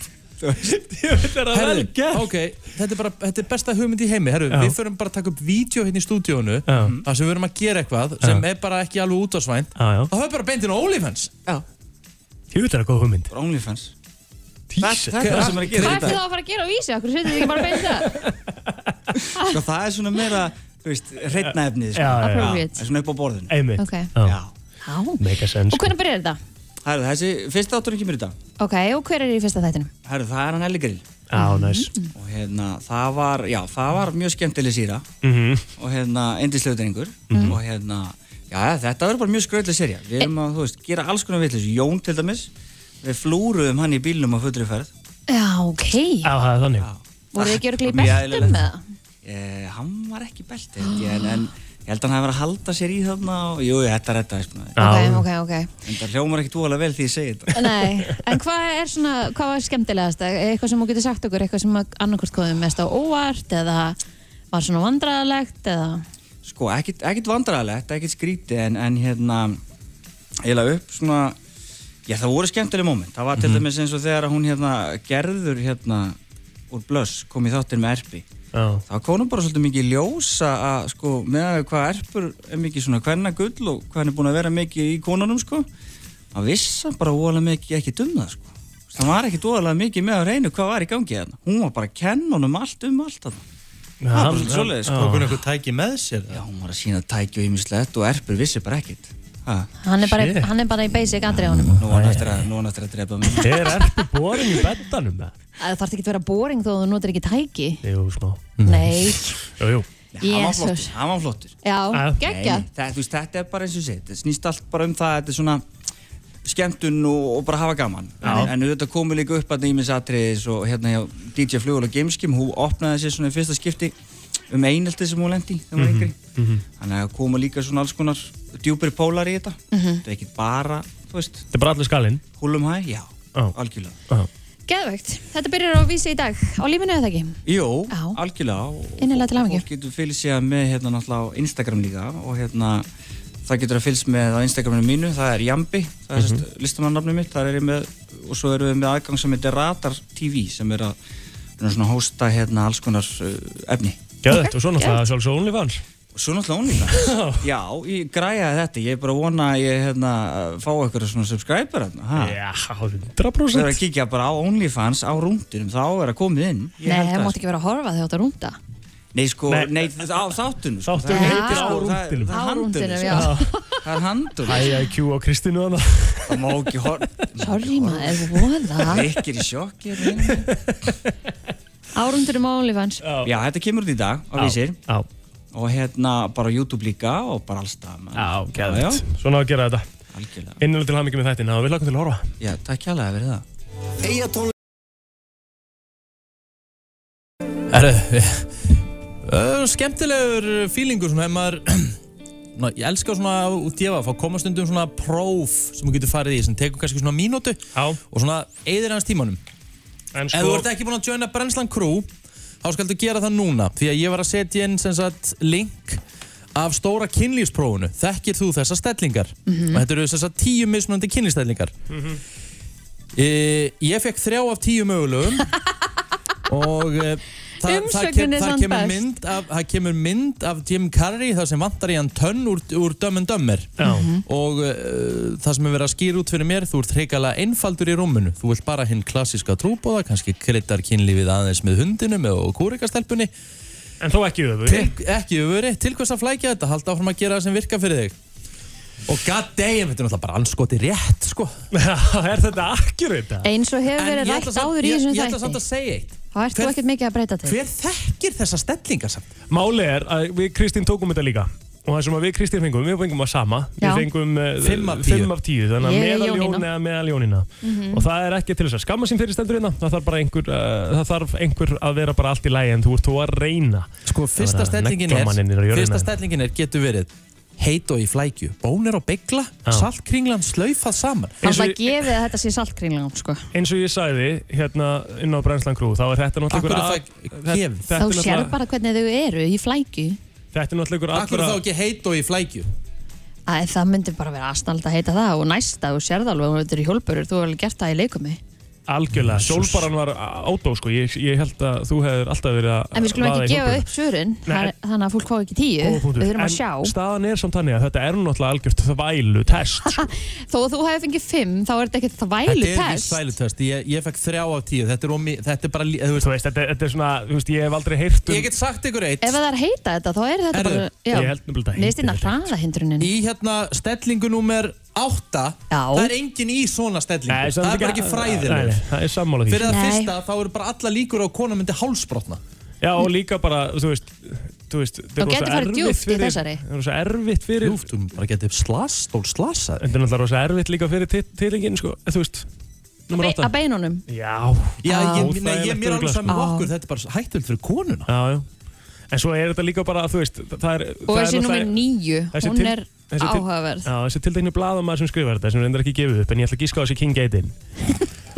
S3: Gott,
S8: *laughs* þú veist
S3: ég veit það er vel
S1: Herðu,
S3: gert
S1: ok, þetta er bara þetta er besta hugmynd í heimi Herru,
S3: Já.
S1: Við förum bara að taka upp vídeo hérna í stúdíónu
S3: Já.
S1: þar sem við erum að gera eitthvað sem er bara ekki alveg út á svænt
S3: Já, já.
S1: þá höfum við bara beintinn á OnlyFans
S3: Ég veit það er góð hugmynd
S8: Bara OnlyFans það,
S3: Tísa
S8: það er það sem er að gera
S2: Hvað er
S8: þetta
S2: það að fara að gera á vísi? Akkur setjum þið ekki bara beint það?
S8: sko, það er svona meira þú veist hreitna efnið sko.
S3: Já, já, já.
S8: það er
S2: Appropriate.
S8: svona upp á borðinu
S3: Einmitt
S2: Ok.
S3: Já.
S8: já
S2: Já.
S3: Mega sens
S2: Og hvernig byrjar þetta?
S8: Herru, þessi fyrsta átturinn kemur í dag
S2: Ok, og hver er í fyrsta þættinum?
S8: Herru, það er hann Elli Grill
S3: Já, næs
S2: Mm-hmm.
S8: og hérna, það var, já, það var mjög skemmtileg síra
S3: Mhm.
S8: og hérna, endislega drengur
S2: Mhm.
S8: og hérna, já, þetta verður bara mjög skröðlega sérja við erum að, þú veist, gera alls konar vitlis Jón til dæmis, við flúruðum hann í bílnum á fullri ferð
S2: Já, ok.
S3: Já, það er þannig
S2: Voru þið ekki örglega í
S8: Mjög
S2: beltum
S8: eðlilegt.
S2: með
S8: eh, hann var ekki belt held ég, en, en ég held að hann hafi verið að halda sér í þarna og jú, þetta er þetta, sko
S2: Ok,
S3: Já.
S2: ok, ok.
S8: en það hljómar ekki dúalega vel því ég segi þetta
S2: Nei, en hvað er svona, hvað var skemmtilegast? Eitthvað sem þú getur sagt okkur, eitthvað sem annarkvort komið mest á óvart eða var svona vandræðalegt eða...
S8: sko, ekkit, ekkit vandræðalegt, ekkit skrítið en, en hérna eiginlega upp svona já, það voru skemmtileg moment, það var til dæmis eins og þegar hún hérna gerður hérna úr blöss, kom í þáttir með erpi
S3: Já
S8: þá konum bara svolítið mikið í ljós að- að sko, með að við hvað erpur er mikið svona hvenna gull og hvað hann er búin að vera mikið í konunum sko, að vissa bara óalega mikið ekki dumna sko það var ekki dóðalega mikið með að reynu hvað var í gangi hérna, hún var bara að kenna honum allt um allt þarna. það var bara svolítið svoleiðis sko.
S1: Tók hún eitthvað tæki með sér
S8: Já, hún var að sína tæki og ýmislegt og erpur vissi bara ekkert. Ha,
S2: Hann er bara,
S3: Shit.
S2: hann er bara í basic andriðunum.
S8: nú var hann eftir að, nú var hann eftir að drepa mig.
S3: Er ertu borin í beddanum? eða?
S2: Það þarf ekki að vera boring þó að þú notir ekki tæki.
S3: Jú, smá
S8: Mm.
S2: Nei,
S3: Jú, jú
S8: Hann var
S2: Jesus.
S8: flottur, hann var flottur.
S2: já,
S3: Ah.
S2: geggjað.
S8: Nei, það, þú veist, þetta er bara eins og sétt, þetta snýst allt bara um það, þetta er svona skemmtun og, og bara hafa gaman. En, en auðvitað komu líka upp að nýmis atriðis og hérna hjá DJ Flugul og Gameskim, hún opnaði sér svona í fyrsta skipti um einelti sem hún lendi í þegar hún var yngri. Þannig að koma líka svona alls konar djúpir pólar í þetta. Þetta er ekki bara, þú veist,
S3: Þetta er bara allir skalinn
S8: húlum hæ, já,
S3: Já.
S8: algjörlega.
S3: Já.
S2: Geðvögt. Þetta byrjar á vísi í dag. Á lífinu eða ekki?
S8: Jú,
S2: Já.
S8: algjörlega og-
S2: Innilega til
S8: og
S2: hamingju.
S8: Fólk getur fylgst sér með hérna náttúrulega á Instagram líka og hérna það getur að fylgst með á Instagraminu mínu, það er Jambi það er mm -hmm. listamannafnum mitt, þar er ég með og svo erum við með aðgang sem heitir Radar TV sem er að við erum svona að hósta hérna alls konar uh, efni
S3: Gjöðvægt, og svo náttúrulega sjálfsög OnlyFans
S8: og svo náttúrulega ónlífans Já, ég græjaði þetta, ég er bara að vona að ég hérna fá eitthvað svona subscriber hérna, ha?
S3: Já,
S8: Þú verður
S3: 100%
S8: að kíkja bara á OnlyFans á rúndinum, þá er að komið inn Ég
S2: Nei,
S8: held
S2: það
S8: að-
S2: mátt ekki vera að horfa þegar þú átt að rúnda.
S8: Nei, sko,
S3: Nei.
S8: nei, á þáttunum sko.
S3: Þátturinn
S8: Það
S2: heitir Á
S8: sko, það-
S3: rúndinum.
S8: það
S2: Á
S8: er handunum,
S2: rúndinum,
S8: sko.
S2: já.
S8: Það er handunum
S3: IIQ á Kristínu hana
S8: Það má ekki horfa
S2: Sorry maður, voða.
S8: Rikki er í sjokki hérna inni.
S2: Árundurum á OnlyFans.
S8: Já, þetta kemur út í dag á vísir
S3: Já,
S8: Og hérna bara á YouTube líka og bara allstað
S3: já,
S8: Já,
S3: gjöðvægt Svona á að gera þetta
S8: algjörlega
S3: Innilega til hamingi með þættina og við lakum til að horfa
S8: Já, takk hjálega fyrir það
S1: Herru, uh, skemmtilegur feelingur svona ef maður *clears throat* Ná, ég elska svona út í að fá koma stundum svona próf sem þú getur farið í sem tekur kannski svona mínútu
S3: Já.
S1: og svona eyðir hans tímanum
S3: En
S1: Ef þú
S3: sko,
S1: ert ekki búin að joina Brennslan Crew þá skaldu gera það núna því að ég var að setja inn sem sagt link af stóra kynlýfsprófunu þekkir þú þessar stellingar
S9: Mhm.
S1: og þetta eru þessar tíu mismunandi kynlýfstellingar e, ég fekk þrjá af tíu mögulegum
S2: *laughs*
S1: og e, það, það,
S2: Umsögnin er
S1: það,
S2: samt
S1: kemur
S2: best.
S1: mynd af, það kemur mynd af Jim Carrey þar sem vantar í hann tönn úr, úr dömmen dömmer
S2: Mhm.
S3: Já.
S1: og e, það sem er verið að skýra út fyrir mér þú ert hreikalega einfaldur í rúminu þú vilt bara hinn klassíska trúbóða kannski kryddar kynlífið aðeins með hundinum og kúrikastelpunni
S3: En þó ekki öfuri *laughs*
S1: til, Ekki öfuri, til hvers að flækja þetta Halda áfram að gera það sem virka fyrir þig Og god damn, þetta er náttúrulega bara anskoti rétt sko.
S3: Er þetta akkurat það?
S2: Eins og hefur
S1: En
S2: verið
S1: ég ætla
S2: rætt
S1: samt-
S2: áður í
S1: ég-
S2: þessum
S1: ég ætla samt að
S2: þætti.
S1: segja eitt
S2: Þá ert þú
S1: Hver-
S2: ekkert mikið að breyta til.
S1: Hver þekkir þessa stellinga samt?
S3: Máli er að við Kristín tókum þetta líka og það sem að við Kristín fengum, við fengum að sama
S2: Já.
S3: við fengum eh,
S1: Fimm af tíu.
S3: fimm af tíu þannig að
S2: Ég er
S3: meðal
S2: Jónína.
S3: Jón eða meðal Jónina
S2: Mhm.
S3: og það er ekki til þess að skamma sín fyrir stendur hérna það þarf bara einhver, uh, það þarf einhver að vera bara allt í lægi en þú ert þú að reyna
S1: Sko, Fyrsta stellingin er, fyrsta stellingin er getur verið Heit og í flækju, bónir og begla Saltkringlan slaufað saman
S2: Hann það gefið að þetta sé saltkringlan sko.
S3: eins og ég sagði hérna inn á Brænslan Crew þá er þetta náttúrulega
S1: Akkur er
S3: einhver
S1: það
S3: að-
S1: gefið?
S3: þetta-
S2: Þá
S3: þetta er
S2: sér
S3: náttúrulega-
S2: bara hvernig þau eru í flækju
S3: Þetta er náttúrulega einhver
S1: Akkur er þá ekki heit og í flækju
S2: Æ, Það myndi bara vera aðsnald að heita það og næsta og sérð alveg og þetta er í hjólburur þú hefur alveg gert það í leikumi
S3: Algjörlega, sólbaran var átó sko, ég, ég held að þú hefur alltaf verið að
S2: En við skulum
S3: vaða í
S2: ekki gefa
S3: hjólbörur.
S2: upp svörin
S3: Nei.
S2: þar- þannig að fólk fá ekki tíu
S3: Góða punktur.
S2: Við þurfum
S3: En
S2: að sjá
S3: staðan er samt þannig að þetta er náttúrulega algjört þvælu test sko.
S2: Þó að þú hefur fengið fimm þá er þetta ekkert þvælu
S1: Þetta er ekki
S2: test
S1: svælutest, ég, ég fekk þrjá af tíu Þetta er, omi, þetta er bara, lí- þú
S3: veist, þetta, þetta er svona, þú veist, ég hef aldrei heyrt
S1: um Ég get sagt ykkur eitt
S2: Ef það er heita þetta þá er þetta
S1: Herðu,
S2: bara
S1: ég held nefnilega þetta
S2: Mér stýrna hraðahindrunin
S1: Í hérna stellingu númer 8 Það er engin í svona stellingu
S3: Nei,
S1: Það er bara ekki fræðileg
S3: Það er sammála því
S1: Fyrir það
S3: Nei.
S1: fyrsta þá eru bara alla líkur á að kona myndi hálsbrotna
S3: Já, og líka bara, þú veist, þú veist þetta
S2: Þá
S3: er rosa
S2: gæti farið
S3: erfitt
S2: djúpt í
S3: fyrir-
S2: þessari.
S3: Það er rosa erfitt fyrir
S1: Djúpt, um bara getið slas, stól slasað
S3: Þetta er náttúrulega rosa erfitt líka fyrir tit- titlingin, sko, þú veist Númer
S2: Be-
S3: 8
S2: Að beinunum
S3: Já,
S1: Já, ég, nei, ég,
S3: Óþægilegt
S1: mér er alveg
S3: örugglega,
S1: saman
S3: sko.
S1: með okkur Þetta er bara hættuð fyrir konuna
S3: Já, já En svo er þetta líka bara, þú veist, það er
S2: Og
S3: það er
S2: þessi nummer
S3: náttúrulega-
S2: níu
S3: Þessi
S2: hún
S3: til-
S2: er
S3: þessi til-
S2: áhugaverð
S3: Já, þessi tildegnu bladamæður sem skrifar þetta sem reyndar ekki gefið upp en ég ætla að gíska á þessi King
S2: *laughs*
S3: Gaten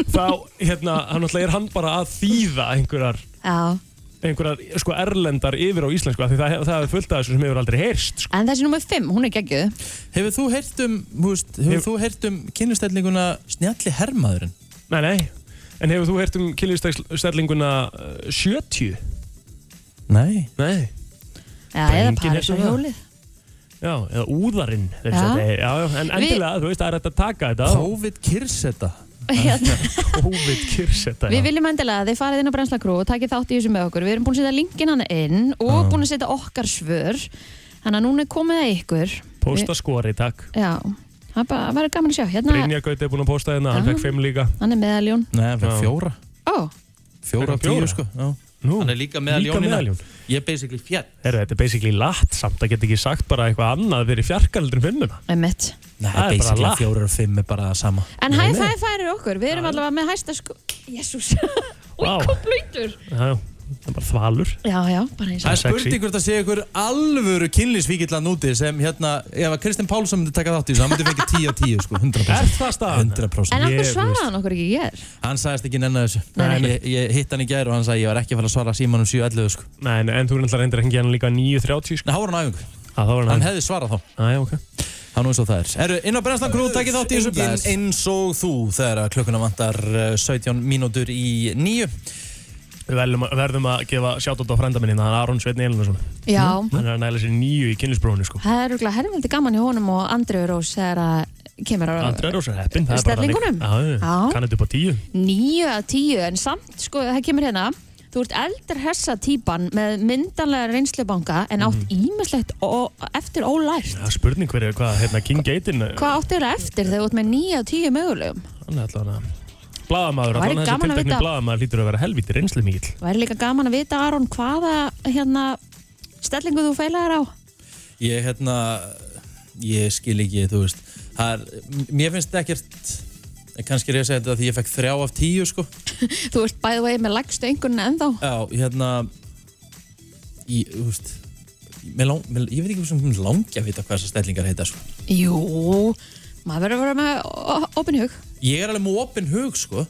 S3: þá, hérna, hann alltaf er hann bara að þýða einhverjar
S2: Já
S3: einhverjar, sko, erlendar yfir á íslensku af því það, það er fullt af þessu sem hefur aldrei heyrst sko.
S2: En þessi nummer 5, hún er geggjöð
S1: Hefur þú heyrt um, húst, hefur
S3: Hef-
S1: þú heyrt um kynnestellinguna Snjalli hermaðurinn?
S3: Nei, nei, en hefur þú heyrt um uh, kynlýfstærlinguna 70?
S1: Nei
S3: Nei
S2: Já,
S3: Bara
S2: eða
S3: engin
S2: parið
S3: hefur
S2: svo
S3: það.
S2: hjólið
S3: Já, eða úðarinn þeir
S2: Já.
S3: sem þetta- já, já, en
S2: Við-
S3: endilega, þú veist, það er hægt að taka þetta
S1: COVID-kyrsetta
S2: Hérna,
S3: COVID-kyrsetta,
S2: Við viljum endilega að þið farið inn á Brennslakrú og takið þátt í þessu með okkur Við erum búin að setja linkin hann inn og
S3: Já.
S2: búin að setja okkar svör Þannig að núna er komið að ykkur
S3: Pósta skori, takk
S2: Við- Já, það er bara það verður gaman að sjá Hérna,
S3: Brynjar Gauti er búin að pósta hérna, hann
S2: Já.
S3: fekk 5 líka
S2: hann er meðaljón
S1: Nei, hann fekk fjóra
S2: Ó,
S1: Fjóra af
S3: Fekk hann
S1: tíu,
S3: fjóra?
S1: sko já.
S3: Nú,
S1: Hann er líka hérna. meðal
S3: líka
S1: Jónína.
S3: meðaljón.
S1: Ég er basically fjall
S3: Herru, þetta er basically latt samt, það get ekki sagt bara eitthvað annað fyrir fjarkaldur en fimmuna.
S2: emmitt
S1: Nei,
S3: Það er bara
S1: basically
S3: latt.
S1: fjóra og fimm er bara það sama
S2: En hæ, hæ, færir okkur, við erum allavega með hæsta sko *laughs* Jésús, úi,
S1: Vá.
S2: kom blöytur
S3: Já, já, það er bara þvalur.
S2: Já, já, bara eins
S1: Það
S2: og
S1: er spurning hvort það sé ykkur alvöru kynlísvíkillan úti sem hérna, ef að Kristinn Pálsson myndi taka þátt í þessu, hann myndi fengið 10 á 10 sko, 100%.
S3: Er það staðan?
S1: 100%.
S2: En okkur
S1: Ég-
S2: svaraði hann okkur ekki ég er
S1: Hann sagðist ekki nennan þessu.
S2: Nei, nei.
S1: Ég, ég hitt hann í gær og hann sagði ég var ekki að fara að svara símanum 7.11 sko.
S3: Nei, nei, en þú er náttúrulega reyndir að hengja hann líka 9.30 sko.
S1: Nei, það var hann æfingu.
S3: Að það var
S1: Hann
S3: hann
S1: hefði svarað þá.
S3: Æ, ok.
S1: Hann eins og það er. Eru inn á Brenslan Crew, takkið þátt í þessu enginn eins og þú þegar að klukkuna vantar eh, 17 mínútur í 9.
S3: Við verðum, að- verðum að gefa sjátt á frænda minni, það er Aron Sveitni Elinsson.
S2: Já.
S1: Hm?
S3: Hann er að næla sér nýju í kynlisbrónu, sko.
S2: Það er rúglega helviti gaman í honum og Andriður Rós þegar að kemur á
S3: Andri er rosa heppin, það er bara
S2: Stellingunum?
S3: Já, já,
S2: Já.
S3: kann þetta upp á tíu.
S2: Níu að tíu, en samt, sko, það kemur hérna Þú ert eldur hessa típan með myndanlega reynslubanka en
S1: Mhm.
S2: átt ímislegt ó- eftir ólært
S3: Það er spurning hver er hvað, hérna, King Gaten,
S2: Hvað átt eru eftir þegar þú ert með níu að tíu mögulegum?
S3: hann er allavega Blaðamaður,
S2: Væri
S3: allavega þessi
S2: gaman að
S3: tiltekni
S2: vita-
S3: blaðamaður hlýtur að vera helvítið reynslu mikið.
S2: Það er líka gaman að vita, Aron, hvaða hérna, stellingu þú feilaðir á
S1: Ég hérna, ég skil ekki, þú veist. Það er, mér finnst ekkert, eh, kannski er ég að segja þetta því ég fekk 3 af 10 sko.
S2: Þú ert bæðið vegið með lagstu einhvern ennþá
S1: Já, hérna Ég, þú veist mér lang, mér, Ég veit ekki hvað sem langi að vita hvað þessar stellingar heita sko.
S2: Jú, maður verður að vera með ó- opinn hug
S1: Ég er alveg með opinn hug sko.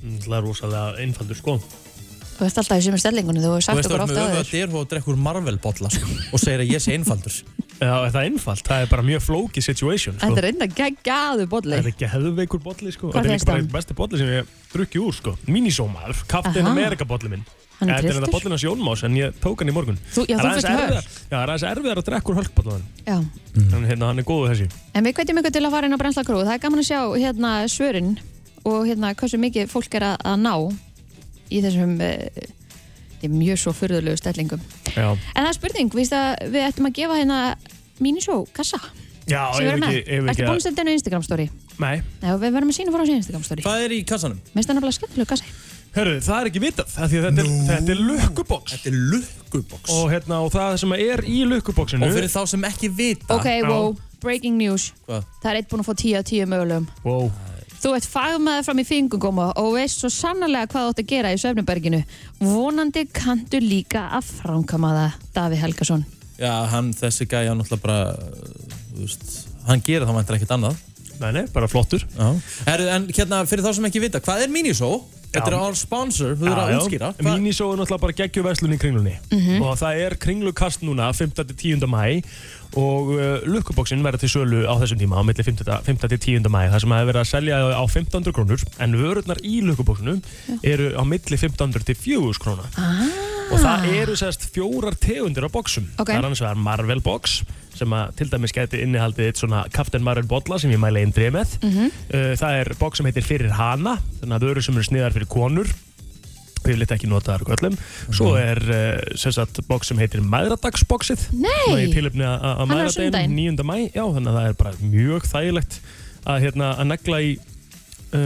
S3: Það er rosalega einfaldur sko
S2: Þú veist alltaf í sömu stellingunni, þú hefur
S1: Þú
S2: sagt
S1: veist
S2: okkur
S1: að
S2: ofta
S1: við
S2: að
S1: öfum að dyrfa og drekkur Marvel-bolla sko, og segir að ég sé einfaldur.
S3: Já, er það einfalt? Það er bara mjög flóki situation, sko.
S2: Þetta er enda geggjaðu bolli.
S3: Það er ekki hefðveikur bolli, sko.
S2: Hvað
S3: Þetta er
S2: finnst
S3: líka bara
S2: hann?
S3: einn besti bolli sem ég drukki úr, sko. Minisómaður, Captain
S2: Aha.
S3: America bolli minn.
S2: Hann er
S3: Þetta er
S2: trylltur.
S3: þetta bollin hans Jónmás, en ég tók hann í morgun.
S2: Þú- já,
S3: Það er
S2: þú
S3: aðeins
S2: fékkst
S3: erfiðar- Já, það er aðeins erfiðar að drekka úr hölkbollan.
S2: Já.
S3: Mm. Hérna, hann er góður þessi.
S2: En við hvetjum ykkur til að fara inn á Brensla Crew. Það er gaman að sjá hérna svörin og hérna hversu mikið fólk er að, að ná í þessum uh, mjög svo furðulegu stellingum.
S3: Já,
S2: En það er spurning, víst að við ættum að gefa hérna mínisjó kassa
S3: já
S2: sem við erum með. Ertu búin að setja hennu Instagram story?
S3: Nei.
S2: Nei, og við verðum að sína fór á sína Instagram story.
S1: Hvað er í kassanum?
S2: Mér finnst það nefnilega skemmtilega kassi.
S3: Herru, það er ekki vitað, af því að þetta, er, þetta er lukkuboks.
S1: Þetta er lukkuboks.
S3: Og, hérna, og það sem er í lukkuboksinu,
S1: Og fyrir þá sem ekki vita
S2: Ok, wow, breaking news.
S1: Hvað?
S2: Það er eitt búin að fá 10 af 10 mögulegum.
S3: wow,
S2: Þú ert fagmaður fram í fingungóma og veist svo sannarlega hvað þú átt að gera í söfnuberginu. Vonandi kanntu líka að framkama það, Davi Helgason.
S1: Já, hann, þessi gæja, hann náttúrulega bara, þú veist, hann gerir það vantar ekkert annað.
S3: nei, nei, bara flottur.
S1: Já. Herru, en hérna, fyrir þá sem ekki vita, hvað er Minisó? Þetta er
S3: Já.
S1: our sponsor, þú verður að útskýra. Mhm. Hvað-
S3: Mínisó er náttúrulega bara geggju verslun í kringlunni og það er kringlukast núna 5. til 10. mæ og uh, lukkuboksin verður til sölu á þessum tíma á milli 5. til- 5. til 10. mæ þar sem það er verið að selja á 1500 krónur en vörurnar í lukkuboksinu eru á milli 1500 til 4000 króna og það eru sérst fjórar tegundir af boksum
S2: Ok.
S3: það er annars vegar Marvel box sem að til dæmis geti innihaldið eitt svona Captain Marvel bolla sem ég mæla einn dreif með uh, það er boks sem heitir Fyrir hana þannig að vörur sem eru sniðar fyrir konur yfirleitt ekki notaðar og öllum svo er uh, sem sagt bóks sem heitir Mæðradagsbóksið
S2: Nei!
S3: Svona í tilöfni að
S2: Hann er á sunnudaginn.
S3: Mæðradaginn 9. mæ já þannig að það er bara mjög þægilegt að hérna að negla í uh,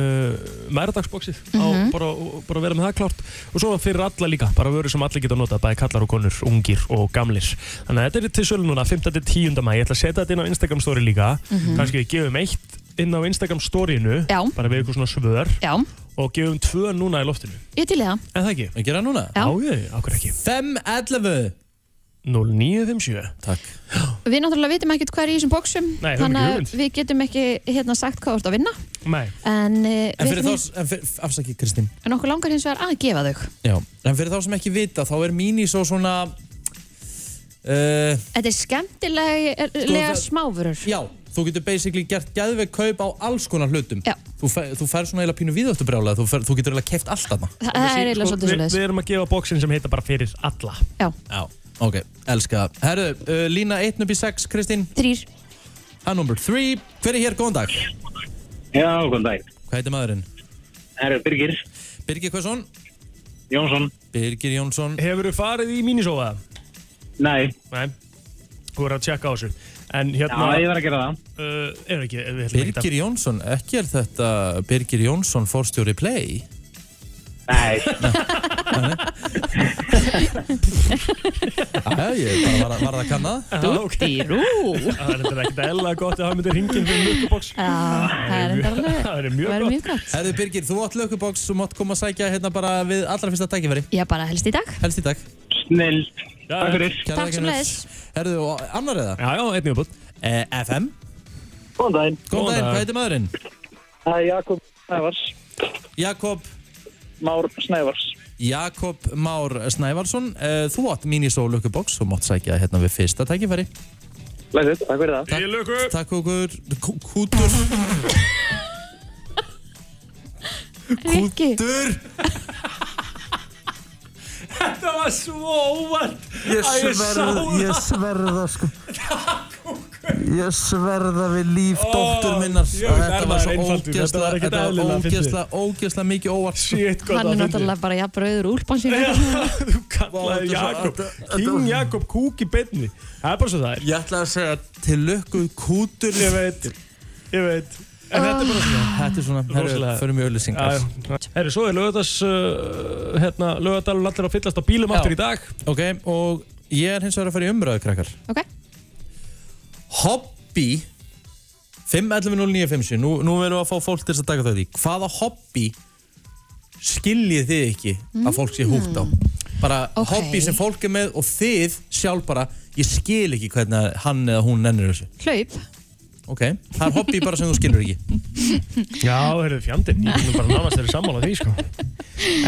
S3: Mæðradagsbóksið mm
S2: Mhm.
S3: bara, og- bara vera með það klárt og svo fyrir alla líka, bara vörur sem allir geta notað bæði kallar og konur, ungir og gamlir þannig að þetta er til sölu núna 5. til 10. mæ ég ætla að setja þetta inn á Instagram story líka kannski við gefum eitt inn á Instagram storyinu
S2: Mhm. Já.
S3: bara við eitthvað svona svör
S2: Já,
S3: og gefum tvö núna í loftinu
S2: ég til í það.
S3: en það ekki
S1: Að gera núna?
S2: Já.
S3: Já, ég, okkur ekki
S1: 5.11
S3: 0957
S1: Takk
S2: Við náttúrulega vitum ekkert hvað er í þessum bóksum,
S3: Nei, höfum
S2: þannig
S3: ekki
S2: að
S3: hugmynd.
S2: við getum ekki hérna sagt hvað þú ert að vinna.
S3: Nei,
S2: En, eh,
S1: En
S2: við
S1: fyrir
S2: ætlum
S1: þá, en fyrir, afsaki Kristín
S2: í- en okkur langar hins vegar að gefa þau.
S1: Já En fyrir þá sem ekki vita, þá er Minisó svona uh,
S2: Þetta er skemmtilega
S3: Sko,
S1: það-
S2: smáfurur.
S1: Já, þú getur basically gert gæðveg kaup á alls konar hlutum
S2: Já.
S1: Þú, fer, þú fær svona eila pínu viðáttubrjála þú, fer- þú getur eila keft allt þarna
S2: Þa- Það er eiginlega svolítið
S3: við,
S2: svolítið.
S3: við erum að gefa bóksin sem heita bara fyrir alla
S2: Já,
S1: Já Ok, elska það. Herru, uh, lína 1 upp í 6, Kristín
S2: þrýr.
S1: Að number 3 Hver er hér, góðan dag?
S7: Já, góðan dag.
S1: Hvað heitir maðurinn?
S7: Það eru Birgir
S1: Birgir Hversson?
S7: Jónsson.
S1: Birgir Jónsson
S3: Hefur þú farið í mínisófa?
S7: Nei,
S3: Nei, þú er að tjekka á þessu En
S7: já,
S3: hérna,
S7: ég var að gera það.
S3: uh, er ekki við ætlum ekki að- *laughs*
S1: Birgir Jónsson, ekki er þetta Birgir Jónsson forstjóri play?
S7: Nei,
S1: Já, ég bara var, að- var að kanna það
S3: Já, Ah, ok.
S2: Dýrú.
S3: *laughs* Það er þetta ekkert eðla gott að hafa myndið hringin fyrir lukkuboks
S2: Já, það er enda alveg.
S3: Ah, *laughs* Það er
S2: Það
S3: mjög
S2: er
S3: gott
S2: mjög gott.
S1: Herðu Birgir, þú átt lökuboks, þú mátt koma að sækja hérna bara við allra fyrsta tækifæri.
S2: Já, bara helst í dag.
S1: Helst í dag.
S7: snill.
S3: Já,
S7: Takk fyrir.
S1: Kæra
S2: Takk sem
S1: þakkir. Herðu, og annar eða?
S3: Já, já, einnig uppbútt
S1: E, FM.
S7: Góðan daginn.
S1: Góðan
S3: Góðan
S1: daginn,
S3: dag.
S1: hvað heitir maðurinn?
S7: Það er Jakob Snævars.
S1: Jakob,
S7: Már Snævars.
S1: Jakob Már Snævarsson. E, þú átt Minisó lökuboks, þú mátt sækja hérna við fyrsta tækifæri.
S7: Læsir, takk fyrir það.
S3: Í lukku
S1: Takk okkur. Kú- Kútur.
S2: Rikki,
S1: Kútur.
S3: Það var svo óvært
S9: Ég
S3: Æ, ég sá
S9: sverða,
S3: það.
S9: ég sverða
S3: *laughs*
S9: sko Ég sverða við líf
S1: Dóttur minnar.
S3: jú,
S1: Þetta
S3: það
S1: var
S3: var
S1: svo
S3: einfaldur, þetta
S1: ógeðsla,
S3: var ekkert
S1: þetta var
S3: eðlilega fyndið.
S1: ógeðsla, ógeðsla mikið óvart.
S3: Shit, gott
S2: hann er
S3: að
S2: náttúrulega bara jafn rauður úlpan sín.
S3: fyndi Þú
S1: Vá, þetta er
S3: kallaði
S1: svo-
S3: Jakob
S1: þetta- þetta
S3: King
S1: var-
S3: Jakob kúk í beinni Það er bara svo það er
S1: Ég ætla að segja til lökku kútur.
S3: Ég veit, ég veit En þetta er bara svona
S1: Þetta er svona, herru,
S3: Rosalega.
S1: förum í auðlýsingar.
S3: Ah, Herri, svo er lögadags uh, hérna, lögadalun allir að fyllast á bílum
S1: Já.
S3: aftur í dag
S1: Ok, og ég er hins vegar að fara í umræðu, krakkar.
S2: Ok,
S1: Hobby 5.11.09.50 Nú, nú verðum við að fá fólk til þess að taka þau því Hvaða hobby skiljið þið ekki að fólk sé húgt á? Bara
S2: Ok.
S1: hobby sem fólk er með og þið sjálf bara Ég skil ekki hvernig hann eða hún nennir þessu
S2: hlaup.
S1: ok, það er hobby bara sem þú skilur ekki
S3: Já, eruðu fjandinn, ég finnum bara nánast þeirri sammála því sko.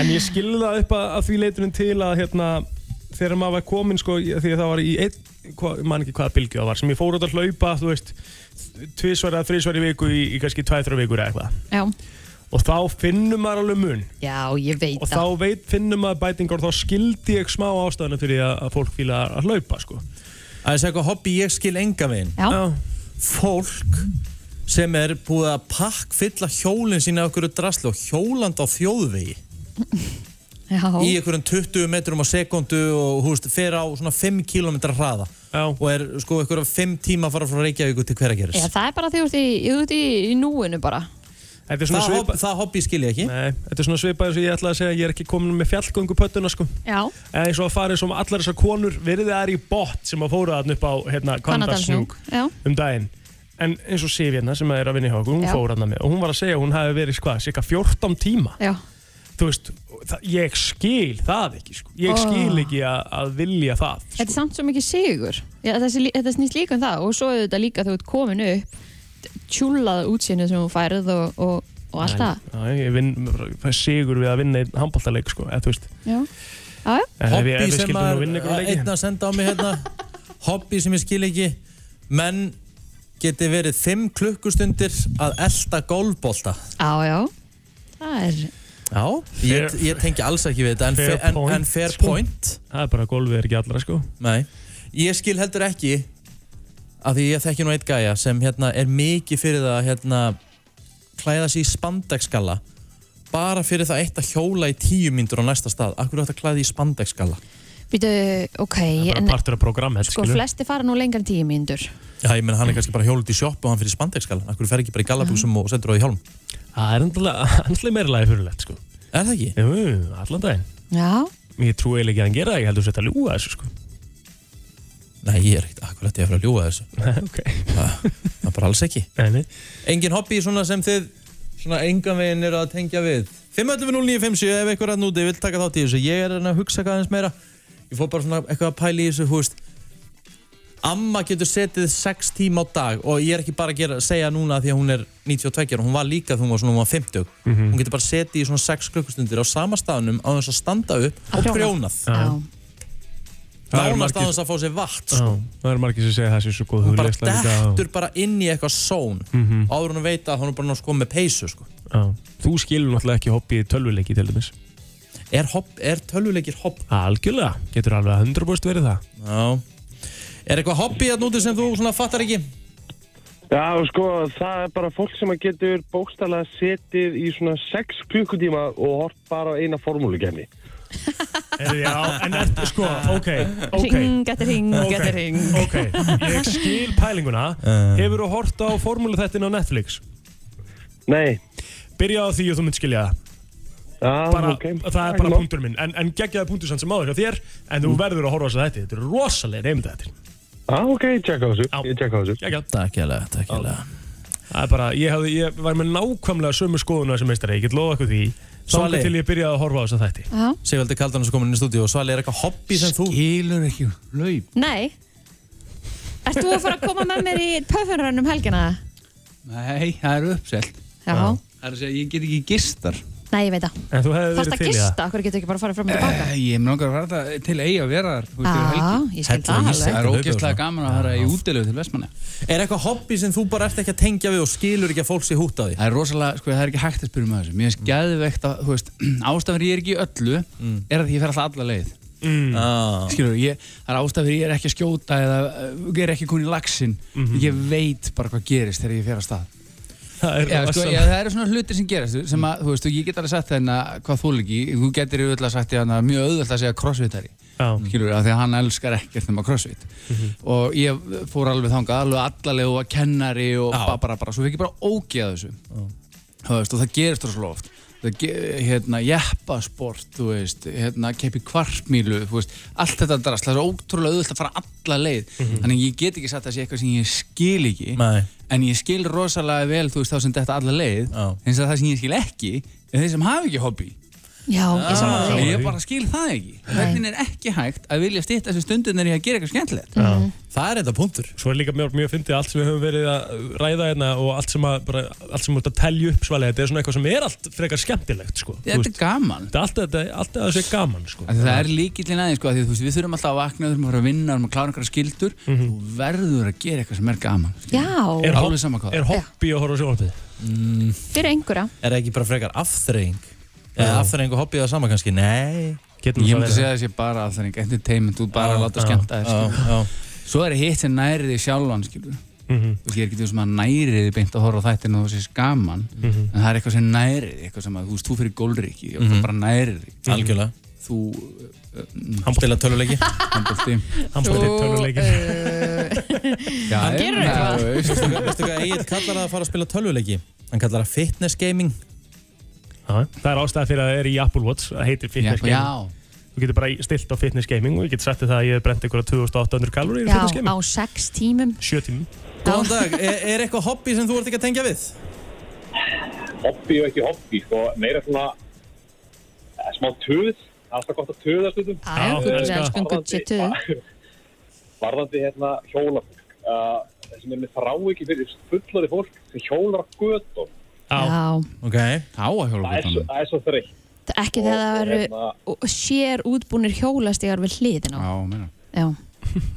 S3: En ég skilði það upp að, að því leiturinn til að hérna, þegar maður var komin sko, í- því að það var í einn, hva, man ekki hvaða bylgju það var sem ég fór út að hlaupa, þú veist tvisvar eða þrisvar í viku í, í kannski 2-3 vikur eða eitthvað
S2: Já,
S3: og þá finnum maður alveg mun
S2: já ég veit
S3: og þá
S2: það
S3: veit, finnum maður bætingar og þá skildi ég smá ástæðuna fyrir því að, að fólk fíla að hlaupa sko.
S1: að ég segja eitthvað hobby ég skil enga veginn
S2: Já.
S1: fólk sem er búið að pakk fylla hjólinn sína af okkur drasli og hjóland á þjóðvegi
S2: Já,
S1: í einhverjum 20 metrum á sekundu og þú veist, fer á svona 5 km hraða
S3: Já.
S1: og er sko einhverjum 5 tíma að fara frá Reykjavík til hverageris
S2: Já, það er bara því þú ert í, þú ert í, í núinu bara
S3: Þetta er svona
S1: það, hob,
S3: svipað
S1: það hobby skil ég ekki
S3: Nei, þetta er svona svipað eins og ég ætlaði að segja að ég er ekki komin með fjallgöngu pöttuna sko.
S2: Já,
S3: eða eins og að fara eins og með allar þessar konur verið það er í bótt sem að fóra þarna upp á hérna,
S2: kannadalsnjúk
S3: Hvannadalshnjúk
S2: Já,
S3: um daginn en eins og Sif hérna sem er að vinna hjá okkur
S2: Já.
S3: hún fór þarna með og hún var að segja að hún hafi verið hvað, cirka 14 tíma
S2: já,
S3: þú veist, það, ég skil það ekki sko. ég
S2: Oh.
S3: skil ekki að, að vilja það
S2: þetta er samt svo mikið sigur já, þessi, lí- Þetta snýst líka um það og svo er þetta líka þú ert komin upp tjúlað útsýnið sem þú færið og, og, og allt það
S3: Æ, ég vinn, fæ sigur við að vinna einn handbóltaleik sko, eða þú veist
S2: Já, já, já
S3: ef
S1: hobby
S3: við- ef við
S1: sem
S3: skildum nú
S1: maður
S3: vinna ykkur leiki
S1: einn að senda á mig hérna
S3: *laughs*
S1: hobby sem ég skil ekki menn geti verið 5 klukkustundir að elda gólbolta
S2: Já, já, það er,
S1: já, ég, ég tengi alls ekki við þetta en
S3: Fair
S1: fair, en,
S3: point,
S1: en fair
S3: sko.
S1: point
S3: það er bara golfið er ekki allra sko.
S1: Nei, ég skil heldur ekki að því ég þekki nú eitt gæja sem hérna er mikið fyrir það að hérna klæða sig í spandegskalla bara fyrir það eitt að hjóla í tíu myndur á næsta stað. Akkur er þetta að klæða þig í spandegskalla?
S2: býtu, ok,
S3: það er
S2: en
S3: bara partur af program held,
S2: sko flesti fara nú lengar en tíu mínútur.
S1: Já, ég menn hann er kannski bara hjólut í sjoppu og hann fyrir spandegskalla. Akkur fer ekki bara í gallabuxum og sendur á því hjálm.
S3: það er *laughs* andlega meira lagi fyrirlegt sko.
S1: Er það ekki?
S3: Jú, allan daginn
S2: Já,
S3: Ég trúi eiginlega ekki að hann gera það, ég heldur þetta að ljúga þessu sko *laughs*
S1: Nei, ég er ekkert akkur þetta ég að fyrir að ljúa þessu.
S3: Nei, ok *laughs*
S1: Það er bara alls ekki.
S3: Nei, nei
S1: Engin hobby svona sem þið svona engan veginn eru að tengja við 511-0957 ef einhver að núti vil taka þátt í þessu ég er að reyna að hugsa hvað aðeins meira ég fór bara svona eitthvað að pæla í þessu húst Amma getur setið 6 tíma á dag og ég er ekki bara að gera, segja núna því að hún er 92 ára, hún var líka þegar hún var svona hún var 50
S3: Mhm.
S1: hún getur bara setið í svona 6 klukkustundir á sama staðnum á þess að standa upp
S2: Að
S1: og
S2: prjóna.
S1: prjónað
S2: já,
S3: Það eru
S1: nánast á
S3: margir-
S1: þess að fá sér vatn
S3: Já,
S1: sko.
S3: það eru margir sem segja það sé svo góð
S1: hún bara
S3: hugleiðsla líka og- Mhm.
S1: dettur bara inn í eitthvað són áður hún veit að hún er bara náttúrulega sko með peysu sko.
S3: Já. Þú skilur náttúrulega ekki hoppi í tölvuleiki til dæmis
S1: Er, hopp, er tölvuleikir hopp?
S3: Algjörlega, getur alveg 100% verið það
S1: Já. Er eitthvað hobby að núti sem þú svona fattar ekki?
S6: Já, sko, það er bara fólk sem að getur bókstælega setið í svona 6 klukkutíma og hort bara á eina formúlugemi.
S3: *laughs* er, Já, en er, sko, ok, ok
S2: ring eftir ring eftir ring.
S3: Ok, ég skil pælinguna
S1: *laughs* Eh.
S3: Hefur þú hort á formúlu á Netflix?
S6: Nei,
S3: Byrja á því og þú mynd skilja það
S6: já,
S3: bara,
S6: ok.
S3: Það er bara punktur minn En, en geggjaði punktur samt sem áður hjá þér En
S6: Mm.
S3: þú verður að horfa svo þetta Þetta er rosalega reymið þetta
S6: Já, Ah, ok, ég tjekka á þessu,
S3: Já.
S6: ég tjekka á þessu.
S3: Geggjað
S1: Takk hérlega, takk hérlega.
S3: Það er bara, ég, hafði, ég var með nákvæmlega sömu skoðun á þessum meistari, ég get lofa ykkur því
S1: Svali.
S3: Svangi til ég byrjaði að horfa á þess að þætti
S2: Já,
S1: Sigvaldi Kaldan er svo komin inn í stúdíu og Svali er eitthvað hobby sem þú...
S9: Skilur ekki hlaup
S2: nei. Ert þú að fara að koma með mér í pöfunrönn um helgina?
S9: Nei, það er uppselt
S2: Já.
S9: Það er að segja, ég get ekki gistar
S2: Nei, ég veit það.
S3: En þú hefði
S2: Þarst
S3: verið
S2: að
S3: til í það
S2: gista, okkur getur ekki bara að fara fram og tilbaka.
S9: Ég er langar að fara það til eigi að vera þar þú veist,
S2: Já,
S9: yfir helgi.
S2: ég skil
S1: Hellu ísi.
S2: það alveg.
S9: Það er
S1: Hlaupið og
S9: ógeðslega
S1: svona.
S9: gaman að fara í útilegu til Vestmanna
S1: Er eitthvað hobby sem þú bara ert ekki að tengja við og skilur ekki að fólk sé hútt á því?
S9: Það er rosalega, sko, það er ekki hægt að spyrja með þessu Mér finnst geðveikt að, þú veist, *clears throat* ástafir ég er ekki í öllu er að því ég fer alltaf alla leið
S1: Ah.
S9: skilur, ég, það er ástæð fyrir ég er ekki að skjóta eða uh, ég er ekki komin í laxin ég veit bara hvað gerist þegar ég fer að stað
S3: Það er
S9: Já, sko,
S3: rosa-
S9: ég, það eru svona hlutir sem gerast sem að, þú veist, og ég get alveg sagt þennan hvað þú ekki, þú getur auðvitað sagt þennan mjög auðvitað að segja crossfitari
S1: Mm.
S3: Já.
S9: skilur, af því að hann elskar ekkert nema crossfit
S1: Mhm.
S9: og ég fór alveg þangað alveg allaleg og að kennari og bara, bara, bara, svo fikk ég bara ógeða þessu þú veist, og það gerist rosalega oft það ge, hérna, jeppasport þú veist, hérna, keppi kvartmílu þú veist, allt þetta drast, það er svo ótrúlega auðvitað að fara alla leið þannig að ég get ekki sagt að það sé eitthvað sem ég skil ekki
S1: Mhm. Nei.
S9: en ég skil rosalega vel þú veist þá sem þetta alla leið
S1: Já.
S9: eins og það sem ég skil ekki er þeir sem hafa ekki hobby
S2: Já, ég
S9: Ah,
S2: saman
S9: ég bara skil það ekki hvernig er ekki hægt að vilja stýtt þessu stundunir í að gera eitthvað skemmtilegt
S3: Já.
S1: Það er þetta punktur
S3: Svo er líka mjög, mjög fyndið allt sem við höfum verið að ræða hérna og allt sem, að, bara, allt sem út að telja upp svalið, þetta er svona eitthvað sem er allt frekar skemmtilegt sko. Þú
S9: þetta
S3: veist,
S9: er gaman
S3: Þetta er alltaf, þetta, er alltaf að það sé gaman sko.
S9: Af því Það er líkillin aðeins sko, af því þú veist, við þurfum alltaf að vakna, þurfum að fara að vinna, þurfum að klára einhverja skildur,
S1: Mhm.
S9: þú verður að gera eitthvað sem er gaman.
S2: Já,
S3: Er,
S9: Alveg sama hvað.
S3: er hobby að horfa á sjónvarpið?
S2: fyrir einhverja
S1: Er það ekki bara frekar afþreying? Eða afþreying og hobbið það sama kannski? Nei
S3: Getum það
S9: Ég myndi
S3: verið
S9: segja þessi bara að það er entertainment, þú bara
S1: Já,
S9: að láta
S1: já,
S9: skemmta þér.
S1: já,
S9: skilur.
S1: já.
S9: Svo er hitt sem næri þig sjálfan, skilur.
S3: Mhm.
S9: Þú veist, ég er ekki því sem að næri þig beint að horfa á þættinu og þú sést gaman,
S1: Mhm.
S9: en það er eitthvað sem næri þig, eitthvað sem að, þú veist, þú fyrir gólriki og það bara næri þig.
S1: Algjörlega
S9: Þú,
S1: Spila töluleiki
S9: handbólti.
S3: handbólti, töluleikir
S2: töluleikir
S9: Já,
S2: gerir
S9: já,
S2: eitthvað.
S9: þú veist.
S1: Veistu hvað Egil kallar það að fara að spila töluleiki? Hann kallar það fitness gaming
S3: Það er ástæða fyrir að það er í Apple Watch það heitir
S9: Já,
S3: fitness gaming
S9: já.
S3: Þú getur bara stilt á fitness gaming og ég get sett þér það að ég hef brent einhverja 2800 kalóri í
S2: Já, á
S3: fitness gaming
S2: sex tímum
S3: 7 tímum
S1: Góðan dag, er, er eitthvað hobby sem þú ert ekki að tengja við?
S7: hobby og ekki hobby, sko, meira svona eh, smá töð, það er alltaf gott að töða stundum.
S3: Já,
S2: Það er
S3: elska.
S2: skun gutsi tuð
S7: Varðandi hérna hjólafólk, uh, sem er með þrá ekki fyrir fullari fólk sem hjólar á gödum.
S3: Já,
S2: Já,
S1: Ok
S9: Á að hjóla
S7: Það er svo, það er svo þreytt.
S2: það er ekki þegar það eru
S7: Hérna,
S2: og sér útbúnir hjólastígar við hliðina á.
S9: Já, meina.
S2: Já,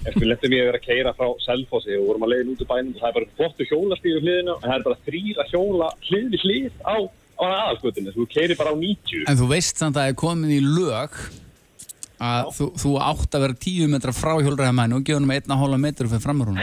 S7: eftir lettum ég að vera að keira frá Selfossi og vorum að leiðin út úr bænum og það er bara flottu hjólastíðu hliðina og það er bara þrýra hjóla hlið við hlið á, á aðalskvötinu. Þú keirir bara á 90.
S9: En þú veist samt að það er komin í lög að þú, þú átt að vera tíu metra frá hjólræðamæni og gefa hann með einna hóla metru fyrir framur hún.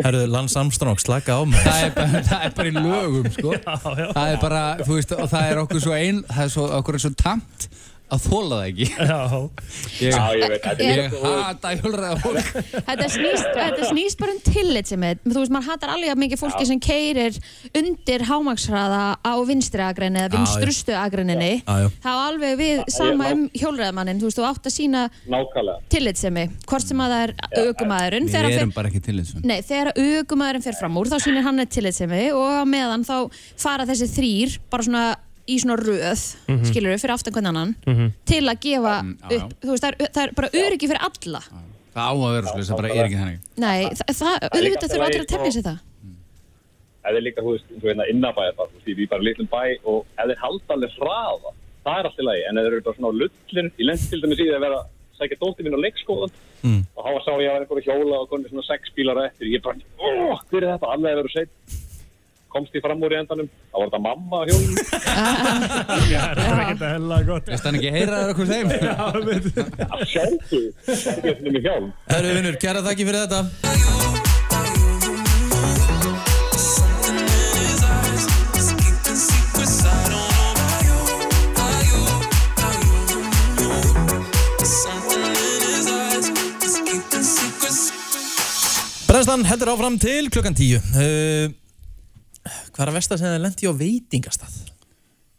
S1: Herðu, Lance Armstrong, slaka á mig
S9: Það er, bara, *laughs* það er bara í lögum, sko. Það er bara, þú veist, og það er okkur svo ein, það er svo, okkur er svo tamt að þóla það ekki.
S3: já
S9: Ég,
S7: Já, ég veit, þetta er
S9: ég hata hjólræðafólk.
S2: þetta snýst, þetta snýst bara um tillit sem er, þú veist, maður hattar alveg jafn mikið fólki sem keirir undir hámaksraða á vinstri agrenni eða vinstrustu agrenninni
S1: Já, já.
S2: þá alveg við sama um hjólræðamannin þú veist, þú átt að sína
S7: nákvæmlega.
S2: tillit sem er, hvort sem að það er aukumæðurinn
S9: Við erum bara ekki til þessu.
S2: Nei, þegar augumæðurinn fer fram úr þá sýnir hann tillitsemi og á meðan þá fara þessi þrýr bara svona í svona röð, mm
S9: Mhm.
S2: skilur við, fyrir aftan hvern annan til að gefa
S9: já, já.
S2: upp, þú veist, það er, það er bara öryggi fyrir alla.
S9: Það á að vera svolítið, það bara er ekki þannig.
S2: Nei, það, það
S7: allt
S2: auðvitað
S7: í
S2: þurfa
S7: lagi,
S2: allir að tefna
S7: sko.
S2: sér það.
S7: eða líka, þú veist, eins og hérna innabæðar bara, þú veist, við bara litlum bæ og ef þeir halda alveg hraða, það er alltaf lagi, en ef þeir eru bara svona á lullin, ég lent til dæmis í því að vera að sækja dóttir mín á leikskólan og þá sá ég að vera einhverju hjóla og konni svona sex bílar á eftir, ég bara, óh, hver er þetta, alveg að vera seitt, komst ég fram úr í endanum, þá var þetta mamma á
S3: *laughs*
S7: hjólum,
S3: Það er ekkert að hella gott
S9: Veist hann ekki heyra þér okkur þeim?
S7: að sjálfu, sjálfu þetta með hjálm.
S1: Herðu, vinnur, kæra þakki fyrir þetta Brennstan heldur áfram til klukkan tíu uh, Hvað er að versta sem þið lendi á veitingastað?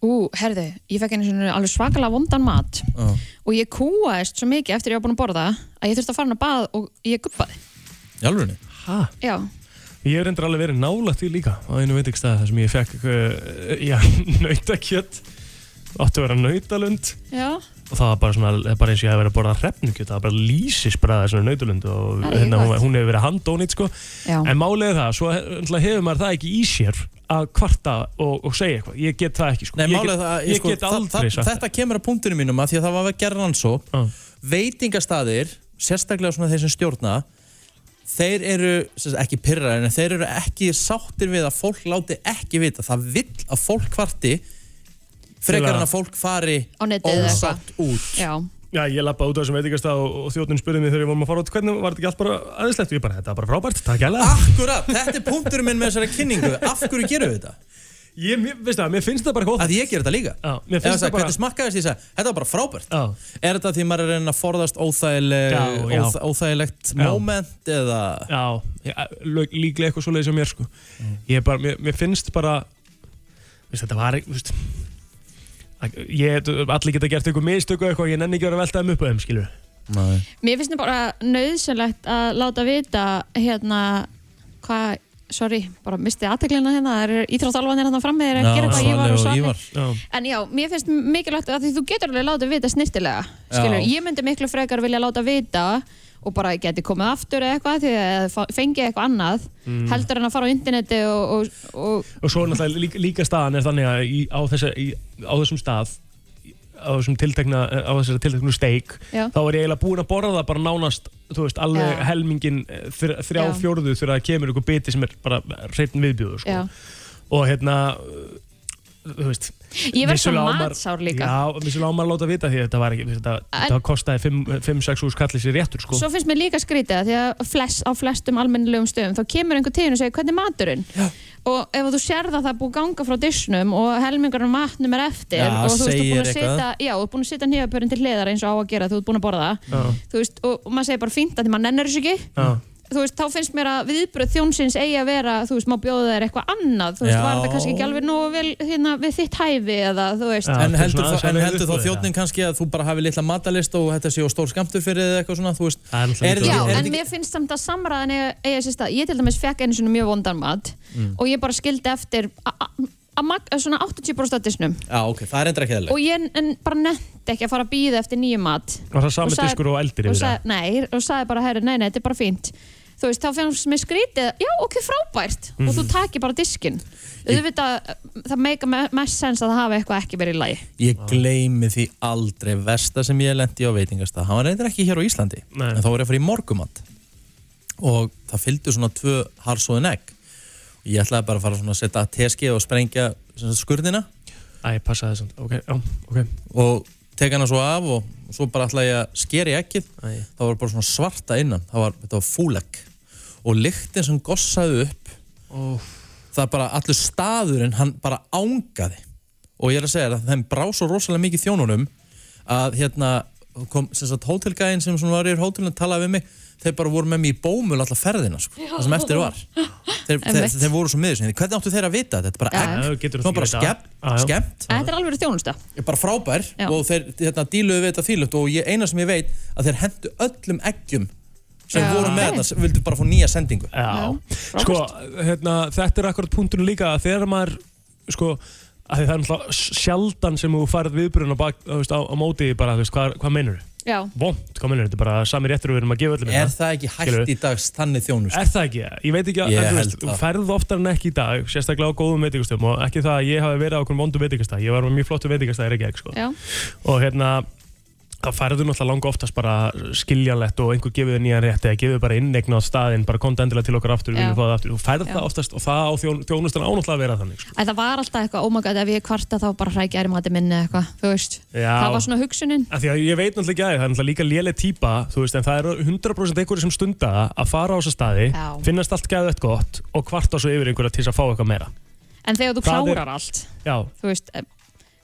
S2: Ú, herðu, ég fekk einu svona alveg svakalega vondan mat
S1: Já.
S2: og ég kúaðist svo mikið eftir ég var búin að borða að ég þurfti að fara hann að bað og ég guppaði.
S1: Í alvörunni?
S2: Já,
S3: Ég hef reyndar alveg verið nálægt því líka á einu veitingstæði þar sem ég fekk uh, já, *laughs* nautakjött átti að vera nautalund
S2: já,
S3: og það var bara svona, það er bara eins og ég hef verið að borða hrefnukjött, það var bara lýsisbræða svona nautalund og
S2: Það er
S3: hérna, hún,
S2: gott.
S3: hún hefur verið handónýtt sko
S2: já.
S3: en málið er það, svo náttúrulega hefur maður það ekki í sér að kvarta og, og segja eitthvað ég get það ekki sko,
S1: Nei,
S3: ég,
S1: málið
S3: get,
S1: er það,
S3: ég get aldrei
S1: það,
S3: sagt
S1: Þetta kemur að punktinu mínum að því að það var að gera rannsó
S3: Já.
S1: Veitingastaðir, sérstaklega svona þeir sem stjórna Þeir eru, sem sagt, ekki pyrraðir en þeir eru ekki sáttir við að fólk láti ekki vita Það vill að fólk kvarti
S3: Til
S1: frekar
S3: að-
S1: en að fólk fari
S2: Á netið eða
S1: ósátt út
S2: Já,
S3: Já, ég lappa út á þessum veitingastað og, og þjóttinn spurði mig þegar ég vorum að fara út hvernig var þetta ekki allt bara aðeinslegt og ég bara, þetta var bara frábært, takk jæglega
S1: Akkurat, þetta er punkturinn minn með þessari kynningu Af hverju gerum við þetta?
S3: Ég, mér, veistu það, mér finnst það bara góð
S1: Að ég ger þetta líka
S3: Já, mér
S1: Eða
S3: finnst
S1: sagði,
S3: það bara-
S1: Hvernig smakkaðist ég sagði, þetta var bara frábært
S3: Já.
S1: Er þetta því maður er að reyna að forðast óþægileg,
S3: Já, já.
S1: óþ, óþægilegt
S3: Já.
S1: moment eða
S3: Já, ég, lög- líklega eitthvað svoleiðis á mér sko Ég er bara, mér, mér finnst bara Veistu, þetta var ekki, veistu að- Ég, allir geta gert eitthvað mistöku eitthvað, ég nenni ekki að vera að velta þeim upp á þeim, skilur
S1: Nei.
S2: Mér finnst það bara nöðsynlegt að láta vita hérna hvað sorry, bara mistið aðteglina hérna, það eru íþróttalvanir hérna fram með þér að
S1: Já,
S2: gera hvað ég var og
S1: Svanni
S2: Svanni.
S1: og Ívar.
S2: En já, mér finnst mikilvægt að því þú getur alveg látið vita snirtilega skilur,
S1: Já.
S2: ég myndi miklu frekar vilja láta vita og bara geti komið aftur eða eitthvað því að fa- fengi eitthvað annað
S3: Mm.
S2: heldur en að fara á interneti og, og, og
S3: Og svo er náttúrulega líka, líka staðan er þannig að í, á, þessa, í, á þessum stað á þessum tiltekna, á þessari tilteknu steik
S2: Já.
S3: þá er ég eiginlega búin að borða það bara nánast þú veist, alveg
S2: Já.
S3: helmingin eh, þr, þrjá
S2: Já.
S3: fjórðu þegar það kemur ykkur biti sem er bara hreitin viðbjóður sko.
S2: já.
S3: og hérna eh, þú veist
S2: Ég verð svo
S3: vissulega á maður-
S2: matsár líka
S3: Já, vissulega á maður að láta vita því að þetta var ekki þetta,
S2: En-
S3: þetta kostaði 5-6 úr skallið sér réttur sko.
S2: Svo finnst mér líka skrítið að því að flest, á flestum almennilegum stöðum þá kemur einhver til þín og segir hvernig er maturinn Já. og ef þú sérð að það er búið að ganga frá disnum og helmingurinn matnum er eftir
S1: Já,
S2: og þú þú
S1: segir
S2: búin að
S1: eitthvað.
S2: setja, já, þú ert búin að setja nefapörin til hliðar eins og á að gera þú ert búin að borða
S3: Já.
S2: þú veist, og, og maður segir bara fínt að því maður nennir þessu ekki
S3: Já.
S2: þú veist, þá finnst mér að viðbröð þjónsins eigi að vera, þú veist, má bjóða þér eitthvað annað þú veist,
S1: Já.
S2: var þetta kannski ekki alveg nógu vel hérna, við þitt hæfi eða, þú veist
S1: en heldur, þá, en heldur þá þjóðnin kannski að þú bara hafi litla matalist og þetta séu stór skamtur fyrir þig eða eitthvað svona, þú veist er,
S3: náttúrulega
S1: þetta-
S2: Já,
S1: er,
S2: en
S1: þetta
S2: mér finnst samt að samræðan eiga eiga sér stað. Ég til dæmis fekk einu svona mjög vondan mat
S1: Mm.
S2: og ég bara skildi eftir a- a- að mag- að svona 80% af disnum
S1: ekki- Já, ok, það er endur ekki
S2: og
S1: eðlileg
S2: ég en bara nefndi ekki að fara að býða eftir nýju mat
S3: Var það sami
S2: sagði-
S3: diskur og eldir
S2: og
S3: yfir
S2: sagði, Nei, og sagði bara, herru, nei, nei, þetta er bara fínt Þú veist, þá fannst mér skrítið, já, ok, frábært og
S3: Mhm.
S2: þú takir bara diskin Auðvitað, eh, það meika me- mest sens að það hafi eitthvað ekki verið í lagi
S1: Ég gleymi því aldrei versta sem ég lendi á veitingasta Hann var reyndar ekki hér á Íslandi En þá var ég að fara í morgumat Og það fylgdu svona tvö harsóðin egg Og Ég ætlaði bara að fara svona að setja teski og sprengja sem sagt, skurðina
S3: Æ, passa þessum, ok, já, ok
S1: Og tek hana svo af og og svo bara ætlaði ég að skeri ekkið
S3: Æ.
S1: Það var bara svona svarta innan Það var, þetta var fúlegg Og lyktin sem gossaði upp
S3: oh.
S1: Það bara allur staðurinn Hann bara ángaði Og ég er að segja þér að þeim brá svo rosalega mikið þjónunum Að hérna kom sem sagt hótelgæðin sem svona var í hótelinu að tala við mig, þeir bara voru með mig í bómul alla ferðina, sko,
S2: Já.
S1: það sem eftir var þeir, þeir,
S2: Einmitt.
S1: þeir voru svo miður sinni hvernig áttu þeir að vita þetta, bara
S2: Já.
S1: egg
S2: Já,
S3: þú getur
S1: það var
S3: ekki
S1: bara
S3: vitað.
S1: skemmt, skemmt
S2: Þetta er alveg þjónusta
S1: er bara frábær
S2: Já.
S1: og þeir hérna, díluðu við þetta þýlut og ég, eina sem ég veit að þeir hendu öllum eggjum sem
S3: Já.
S1: voru með þetta sem vildu bara fá nýja sendingu
S3: Já, Sko, hérna, þetta er akkurat punkturinn líka að þegar maður, sko, að því það er náttúrulega sjaldan sem þú farið viðbrun á, bak, þú veist, á, á móti því bara, þú veist, hvað, hvað meinur þau?
S2: Já,
S3: Vont, hvað meinur þau? Þetta er bara sami réttur við erum að gefa öllum hérna.
S1: er það ekki hægt í dags þannig þjónust
S3: Er það ekki? Ég veit ekki að,
S1: Ég
S3: en, þú
S1: held
S3: veist, þú
S1: það.
S3: ferð oftar en ekki í dag, sérstaklega á góðum veitingastöðum og ekki það að ég hafi verið á okkur vondum veitingastæð, ég var með mjög flottu veitingastæðir ekki, sko.
S2: já,
S3: og hérna það færður náttúrulega langa oftast bara skiljanlegt og einhver gefið þér nýjan rétt eða gefið þér bara innegna á staðinn, bara komta endilega til okkar aftur við
S2: Já.
S3: viljum fá það aftur, þú færð
S2: Já.
S3: það oftast og það á þjón, þjónustan ánáttúrulega að vera þannig sko.
S2: að það var alltaf eitthvað, oh my god, ef ég kvarta þá bara hrækja er mati minni eða eitthvað, þú veist
S3: Já.
S2: það var svona hugsunin
S3: Af því að ég veit náttúrulega ekki að það er náttúrulega líka léleg típa, þú veist, en það eru 100% einhverju sem stunda það að fara á þessa staði,
S2: Já.
S3: finnast allt gæðið gott og kvarta svo yfir einhverja til þess að fá eitthvað meira.
S2: en þegar þú
S3: Það er-
S2: klárar allt
S3: Já,
S2: þú veist, eh,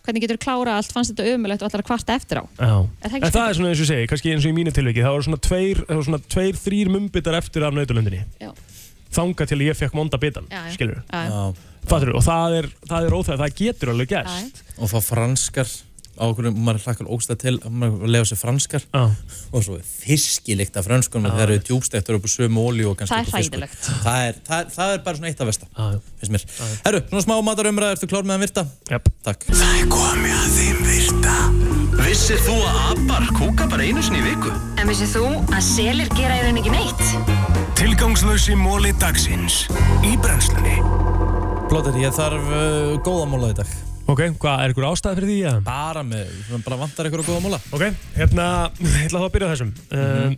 S2: hvernig getur þú klára allt fannst þetta ömulegt og allar að kvarta eftir á
S3: já.
S2: Er það ekki
S3: en það er svona eins og ég segi, kannski eins og í mínu tilviki, það voru svona tveir, það voru svona tveir þrýr mumbitar eftir af nautalundinni.
S2: Já.
S3: Þanga til ég fekk monda bitan,
S2: Já, já.
S3: skilur.
S2: Já, já.
S3: Fattur, og það er, það er óþæg, það getur alveg gerst.
S1: og þá franskar á okkur, maður hlakkar ógsta til að maður lefa sér franskar
S3: ah.
S1: og svo fiskilykt af franskunum
S3: Já.
S1: þegar eru djúbstektur upp á sömu ólíu og kannski
S2: Það er
S1: upp á fiskur.
S2: hræðilegt.
S1: það er, það, er- það er bara svona eitt af versta
S3: ah.
S1: finnst mér Herru, svona smá matarumræða, ertu klár með að virta?
S3: Yep.
S1: Takk
S5: Það er komið að þeim virta Vissir þú að abar kúka bara einu sinni í viku?
S4: En vissið þú að selir gera í raun ekki neitt?
S5: Tilgangslösi móli dagsins Í brennslunni
S1: Plóter, ég þarf uh, góða móla í dag
S3: Ok, hvað, er ykkur ástæð fyrir því? Ja?
S1: bara með, svona bara vantar ykkur á góða móla
S3: Ok, hérna, *laughs* ég ætla þá að byrja á þessum. Mm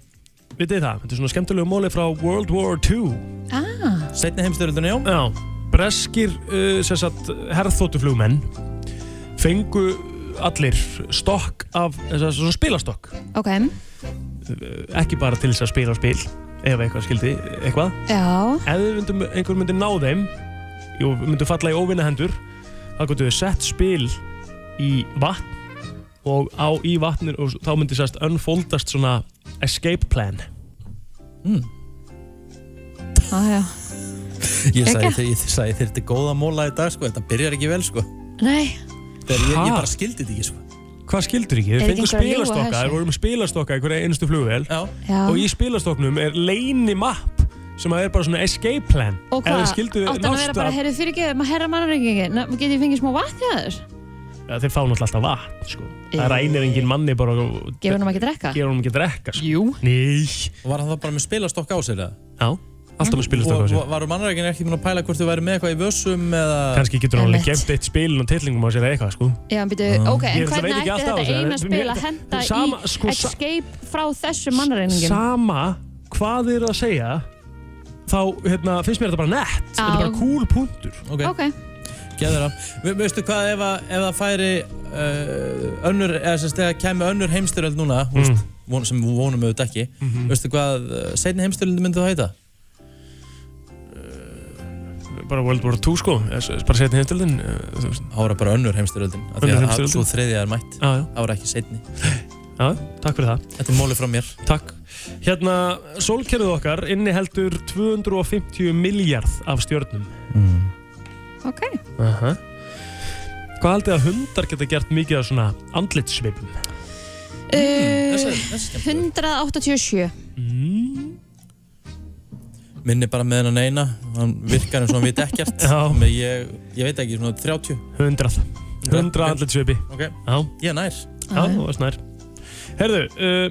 S3: Vitið þið það, þetta er svona skemmtilegu móli frá World War II.
S2: ah,
S1: Setni heimstyrjöldunni, já
S3: Já, breskir, uh, sem sagt, herðþóttuflugmenn fengu allir stokk af, þess að svona spilastokk.
S2: ok,
S3: Ekki bara til þess að spila spil, ef eitthvað skildi, eitthvað.
S2: já
S3: ef þið myndum, einhver myndi ná þeim og myndu falla í óvinnahendur þá gotu þau sett spil í vatn og á í vatnir og þá myndi sérst unfoldast svona escape plan
S2: ah, já,
S1: Ég
S2: Ekki?
S1: sagði, ég sagði þér þetta er góða móla í dag sko, þetta byrjar ekki vel sko
S2: nei
S1: Þegar ég, ég
S3: Ha?
S1: bara skildi þetta ekki sko
S3: hvað skildur ekki?
S2: Er
S3: Þau
S2: ekki
S3: fengur
S2: einhver að ljúga
S3: spilastokka,
S2: þessu?
S3: þau vorum spilastokka í hverja einustu flugvél
S1: Já,
S2: já,
S3: og í spilastoknum er leyni mapp sem að er bara svona escape plan
S2: Og
S3: Ef
S2: hvað,
S3: þið skildu
S2: átti hann að vera
S3: nást
S2: bara,
S3: að-
S2: heyrðu fyrir geðum að herra mannreikingin, getið ég fengið smá vatn hjá þér?
S3: Ja, þeir fá náttúrulega alltaf vatn sko. það rænir engin manni bara
S2: Gefur honum ekki að drekka?
S3: gefur honum ekki að drekka sko.
S2: Jú
S3: Nei
S1: Og var hann það bara með spilastokk á sér eða?
S3: Já, alltaf með spilastokk á sér.
S1: Og var mannreikin ekki mun að pæla hvort þau væri með eitthvað í vössum eða
S3: kannski getur hann alveg
S2: Einmitt.
S3: gemt eitt spilin og tillingum á sér eða eitthvað sko.
S2: Já, býtu, ok, en
S3: Ég ætla- veit
S2: hvernig ætti
S3: ekki alltaf á
S2: þetta
S3: þessu,
S2: eina
S3: en
S2: spil
S3: mér-
S2: að henda
S3: sama,
S2: í
S3: sko, sa-
S2: escape frá þessum mannreikingin?
S3: sama hvað þið eru að segja þá hérna, finnst mér þetta bara nett þetta er
S2: Já.
S3: bara cool punktur
S1: Ok,
S2: Ok,
S1: geður það. Ve- Veistu hvað ef, að, ef það færi uh, önnur, eða sem stegið kemur önnur heimstyrjöld núna, mm. veist, von, sem við vonum auðvitað ekki, veistu hvað uh, seinni heimstyrjöld myndi það heita?
S3: bara World War 2 sko Es- es- bara setni heimstöldin
S1: Það var bara önnur heimstyrjöldin, af því
S3: Önnur
S1: að- að
S3: heimsstyrjöldin?
S1: svo þriðja er mætt.
S3: já, já,
S1: Það var ekki seinni.
S3: já, takk fyrir það
S1: Þetta er móli frá mér.
S3: takk hérna, sólkerfið okkar inniheldur 250 miljard af stjörnum
S1: Mm.
S2: ok,
S3: Aha. hvað haldið að hundar geta gert mikið af svona andlitsvipum
S1: Þessi,
S2: uh,
S1: þessi skemmt.
S2: 187
S3: mm.
S1: Minni bara með hennan eina, hann virkar eins og hann veit ekkert.
S3: Já.
S1: Með ég, ég veit ekki, svona 30.
S3: 100 100 andlitsvipi
S1: Ok,
S3: já,
S1: ég er nær.
S3: já, það var snær herðu, uh,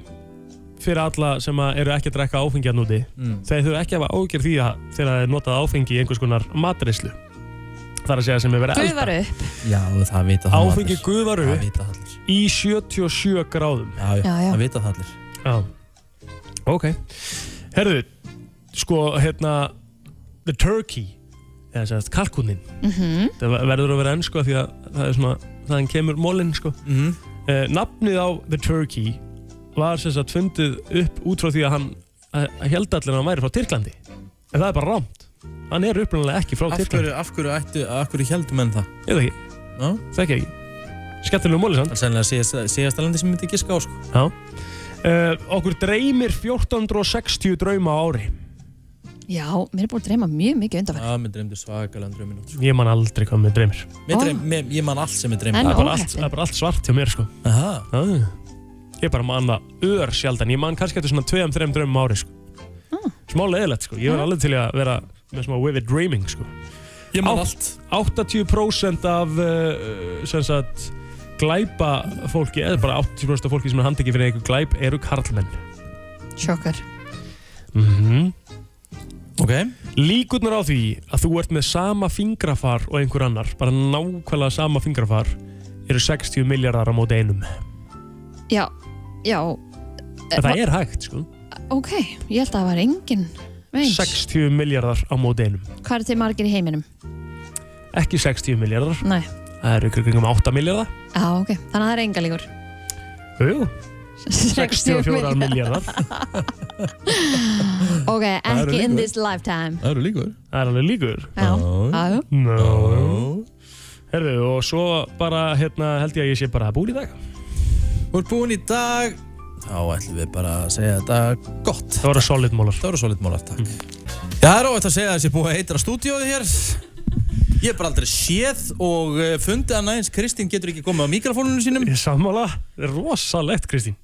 S3: fyrir alla sem að eru ekki að drekka áfengi að núti
S1: Mm.
S3: þeir þurfa ekki að hafa ágjör því að þegar það er notað áfengi í einhvers konar matreyslu þar að segja sem er verið að elda.
S2: Guðvaru,
S1: Já, það vita það
S3: áfengi guðvaru
S1: Það vita það allir.
S3: í 77 gráðum
S1: Já, já,
S2: Já, já.
S1: það vita það allir.
S3: já. ok herðu, sko hérna the turkey eða sem sagt kalkunin það verður að vera enn sko því að það er svona þaðan kemur mólinn sko
S1: Mm.
S3: eh, nafnið á the turkey var sem sagt fundið upp út frá því að hann að- að held allir að hann væri frá Tyrklandi en það er bara rámt hann er upprunalega ekki frá
S1: Af
S3: Tyrklandi
S1: hverju, af hverju, ættu, af hverju heldum enn það?
S3: Ég veit ekki,
S1: Já.
S3: þekki ekki Skemmtilega móli
S1: Það
S3: samt
S1: er sennilega síðasta- síðasta landi sem myndi ekki ská, sko.
S3: uh, Okkur dreymir 1460 drauma á ári
S2: já, mér er búin að dreyma mjög mikið
S3: Ah.
S2: undanverð
S1: Já, mér dreymdi svakalega um drauminn. sko.
S3: Ég man aldrei hvað mér dreymir
S1: Mér
S2: Ó.
S1: dreym- mér- Ég man allt sem ég dreymdi.
S2: En-
S3: Það er bara,
S2: óheppin.
S3: allt, það er bara allt svart hjá mér sko
S1: Aha.
S3: ah. Ég bara man það ör sjaldan Ég man kannski eftir svona 2-3 draumum á ári sko Smá leðilegt sko Ég var
S2: Já.
S3: alveg til í að vera með smá vivid dreaming sko
S1: Ég man
S3: Á-
S1: allt.
S3: 80% af uh, sem sagt glæpa fólki eða bara 80% af fólki sem er handtekið fyrir einhver glæp eru karlmenn
S2: Sjokkar
S3: mm
S1: Ok.
S3: Líkurnar á því að þú ert með sama fingrafar og einhver annar, bara nákvæmlega sama fingrafar, eru 60 miljardar á móti einum.
S2: Já, já,
S3: En það er hægt, sko.
S2: ok, ég held að það var engin meins
S3: 60 miljardar á móti einum.
S2: Hvað er þið margir í heiminum?
S3: Ekki 60 miljardar,
S2: Nei,
S3: það eru ykkur kringum 8 miljardar.
S2: já, ok, þannig að það er enga líkur
S3: Jú, 64
S2: milljarðar.
S3: miljardar.
S2: *laughs* Ok,
S1: eru
S2: ekki in
S1: líkur.
S2: this lifetime
S1: Það eru líkur.
S3: Það er alveg líkur.
S2: Já, já, já.
S3: No. Herðu, og svo bara, hérna, held ég að ég sé bara að búin í dag.
S1: Þú ert búinn í dag. Þá ætlum við bara að segja þetta gott.
S3: Það voru solid mólar.
S1: Það voru svolítið mólar, takk. Já, það er óvægt að segja að þessi búið að eitra stúdíóið hér. Ég er bara aldrei séð og eh, fundið að næðins Kristín getur ekki komið á mikrofónunum sínum.
S3: Ég sammála, það er rosalegt, Kristín.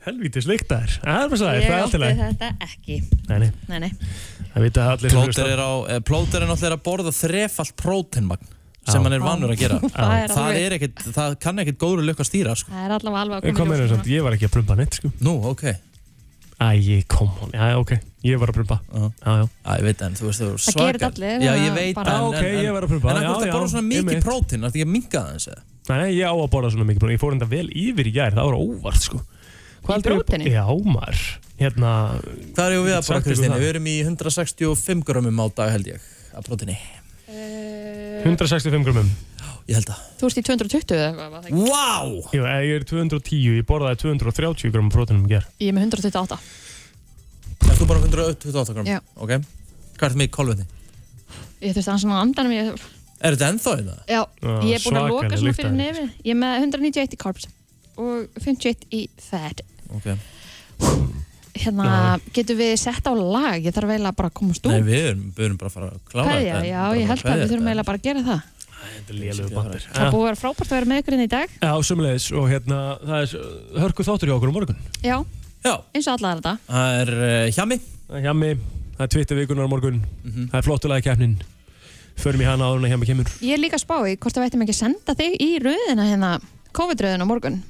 S3: Helvítis leikta þér. Það er bara sæðið, það
S2: Ég
S3: er allt í
S2: átti
S3: lagi.
S2: þetta ekki
S3: Nei, nei,
S2: Nei, nei,
S3: það vita allir sem hlusta.
S1: Plóter er, á, eh, Plóter er náttúrulega að borða þrefalt prótenmagn sem
S3: Já.
S1: hann er vanur að gera.
S2: *laughs* það er
S1: Það,
S2: alveg
S1: er ekkit, það kann ekkit góður lökk að stýra, sko.
S2: Það er allavega alveg að
S3: Ég Eh, kom
S2: koma í
S3: með
S2: ljós
S3: þess að
S2: núna.
S3: ég var ekki að prumpa neitt sko
S1: Nú, ok.
S3: Æ, kom hún, já ok, ég var að prumpa
S1: Já.
S3: Já, já,
S1: Já, ég veit en, þú veist, þú er
S2: Það
S1: svakar.
S2: gerir allir,
S1: Já, ég
S2: það
S1: veit
S2: bara-
S1: en,
S3: ok,
S1: en,
S3: ég
S1: en,
S3: var að prumpa
S1: en akkur það borða svona mikið
S3: próf
S1: prótein, það er ekki að minga það eins eða?
S3: Nei, ég á að borða svona mikið próf, ég fór enda vel yfir í gær, það var óvart sko Hvað
S2: Í
S3: heldur ég-
S2: próteinu?
S3: Já, maður, hérna,
S1: Hvað erum við
S3: Ég
S1: að borða,
S3: get sagt ykkur
S1: Kristín?
S3: það.
S1: Við erum í 165 grömmum á dag, held ég, af prótinni.
S2: Eh,
S3: 165 grumum
S1: Ég held að.
S2: Þú ert í 220 eða eitthvað var það ekki?
S1: Vá!
S3: Jú, eh, ég er 210, ég borðaði 230 grum prótinum í gær
S2: Ég er með 128
S1: Erst þú bara 128 grömm?
S2: Já.
S1: Ok. Hvað ertu með í kolvetni?
S2: Ég þurfti að svona andanum ég,
S1: Er þetta ennþá hérna?
S2: Já,
S3: Já,
S2: ég er búin að
S3: svakaleg
S2: loka svona
S3: lykt
S2: fyrir
S3: af
S2: nefi Ég er með 191 í carbs og 51 í fat
S1: Ok.
S2: Hérna, getum við sett á lag? Ég þarf eiginlega bara að komast
S1: Nei,
S2: út
S1: við erum, við erum bara að fara að klára
S2: Kveðja,
S1: þetta.
S2: já, ég held að við þurfum eiginlega bara að gera það
S3: Þetta er lélugu bandir
S2: Það er búið að vera frábært að vera með ykkur inn í dag
S3: Já, sömulegis, og hérna, það er hörku þáttur hjá okkur á morgun
S2: Já,
S1: Já,
S2: eins og allar þetta
S1: það er uh, hjami.
S3: Það er Hjá mig, það er Twitter vikunar á morgun
S1: Mhm.
S3: það er flottulega keppnin förum í hana áður en að hjá mig kemur
S2: Ég er líka að spá í hvort að við ættum ekki að senda þig í röðina hérna, COVID-röðina á morgun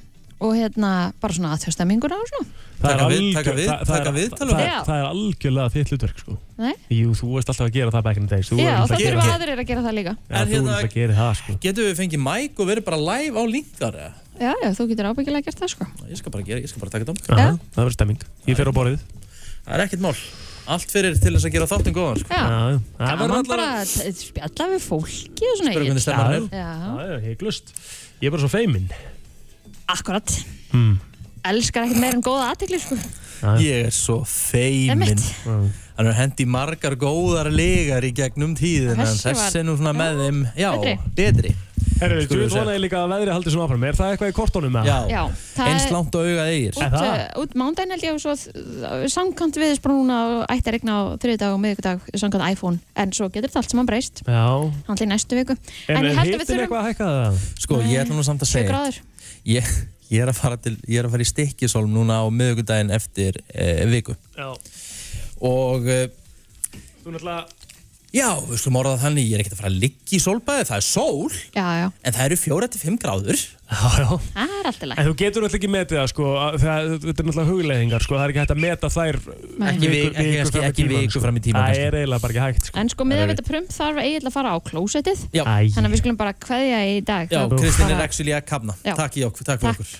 S2: og hérna bara svona aðtjóðstemminguna og svona.
S3: Það er
S1: Taka við-
S3: algjör-
S1: taka við-
S3: það- það er-
S1: taka viðtal og-
S3: það-
S2: Já.
S3: Það er algjörlega þitt hlutverk sko
S2: Nei?
S3: Jú, þú veist alltaf að gera það back in the days
S2: Já,
S3: Þú verður
S2: og það
S3: alltaf að gera
S2: þurfa
S3: það.
S2: aðrir að gera það líka.
S3: Já,
S1: hérna-
S3: þú verður alltaf að gera það sko
S1: Getum við fengið mæk og verið bara live á linkar? eða?
S2: Já, já, þú getur ábyggilega gert það sko.
S1: Ég skal bara gera, ég skal bara taka þetta á mig.
S3: Aha, Það verður stemming Ég fer á borðið
S1: Það er ekkert mál. Allt fyrir til þess að gera þáttin góðan. Sko.
S2: Ah. Já,
S3: Já, já. Það verður
S2: gaman
S3: allar
S2: bara að t- spjalla við fólki og svona.
S1: Spyrja hvernig
S2: Egill.
S1: stemman er.
S2: Já,
S3: Já, já, heiklust Ég er bara svo feiminn
S2: akkurat.
S3: Mm.
S2: Elskar ekkert meira en góða aðtekli sko.
S1: Ég er svo feimin.
S2: Einmitt.
S1: Hann er hendi margar góðar legar í gegnum tíðina. en
S2: Þessi var-
S1: Þessi er nú svona með þeim. Já,
S2: Betri.
S1: betri.
S3: Herru,
S1: Skulum
S3: þú
S1: við segja.
S3: vonaði líka að veðri haldi svona áfram Er það eitthvað í kortónum með
S1: Já,
S2: Já, það
S1: eins
S2: er-
S1: langt og augað eigir.
S2: Út,
S3: Er það?
S2: uh, út mándaginn held ég og svo uh, samkant viðisbrúna og ætti að regna á þriðdag og miðvikudag samkant iPhone en svo getur þetta allt saman breyst
S3: Já
S2: hann til næstu viku
S3: En
S2: en
S3: er
S2: ég held að
S3: hittin
S2: við þurfum
S3: eitthvað að hækka það?
S1: Sko, ég ætla nú samt að
S2: 7
S1: segja.
S2: gráður
S1: Ég, ég, er að fara til, ég er að fara í stikkisólm núna á miðugudaginn eftir eh, viku.
S3: Já
S1: Og eh,
S3: Þú náttúrulega
S1: já, við slum orða það þannig, ég er ekkert að fara að ligga í sólbæði. Það er sól,
S2: já, já,
S1: en það eru 4-5 gráður.
S3: Já, já
S2: það er alltaf læg
S3: En þú getur náttúrulega ekki metið það sko að- það- Þetta er náttúrulega hugleðingar sko Það er ekki hægt að meta þær
S1: Ekki
S3: viku-
S1: vik- ekki-
S3: viku fram í
S1: ekki
S3: tímann,
S1: viku
S3: sko.
S1: fram í tímann,
S3: Það
S1: kannski.
S3: er eiginlega bara ekki hægt sko
S2: en sko miðvikudag prump þarf eiginlega að fara á klósettið
S1: Já,
S3: Æ,
S2: þannig að við skulum bara kveðja í dag
S1: já
S2: Þá
S1: Kristín er
S2: bara-
S1: actually að kafna.
S2: Já.
S1: Takk, í ok- takk fyrir
S2: Takk.
S1: okkur.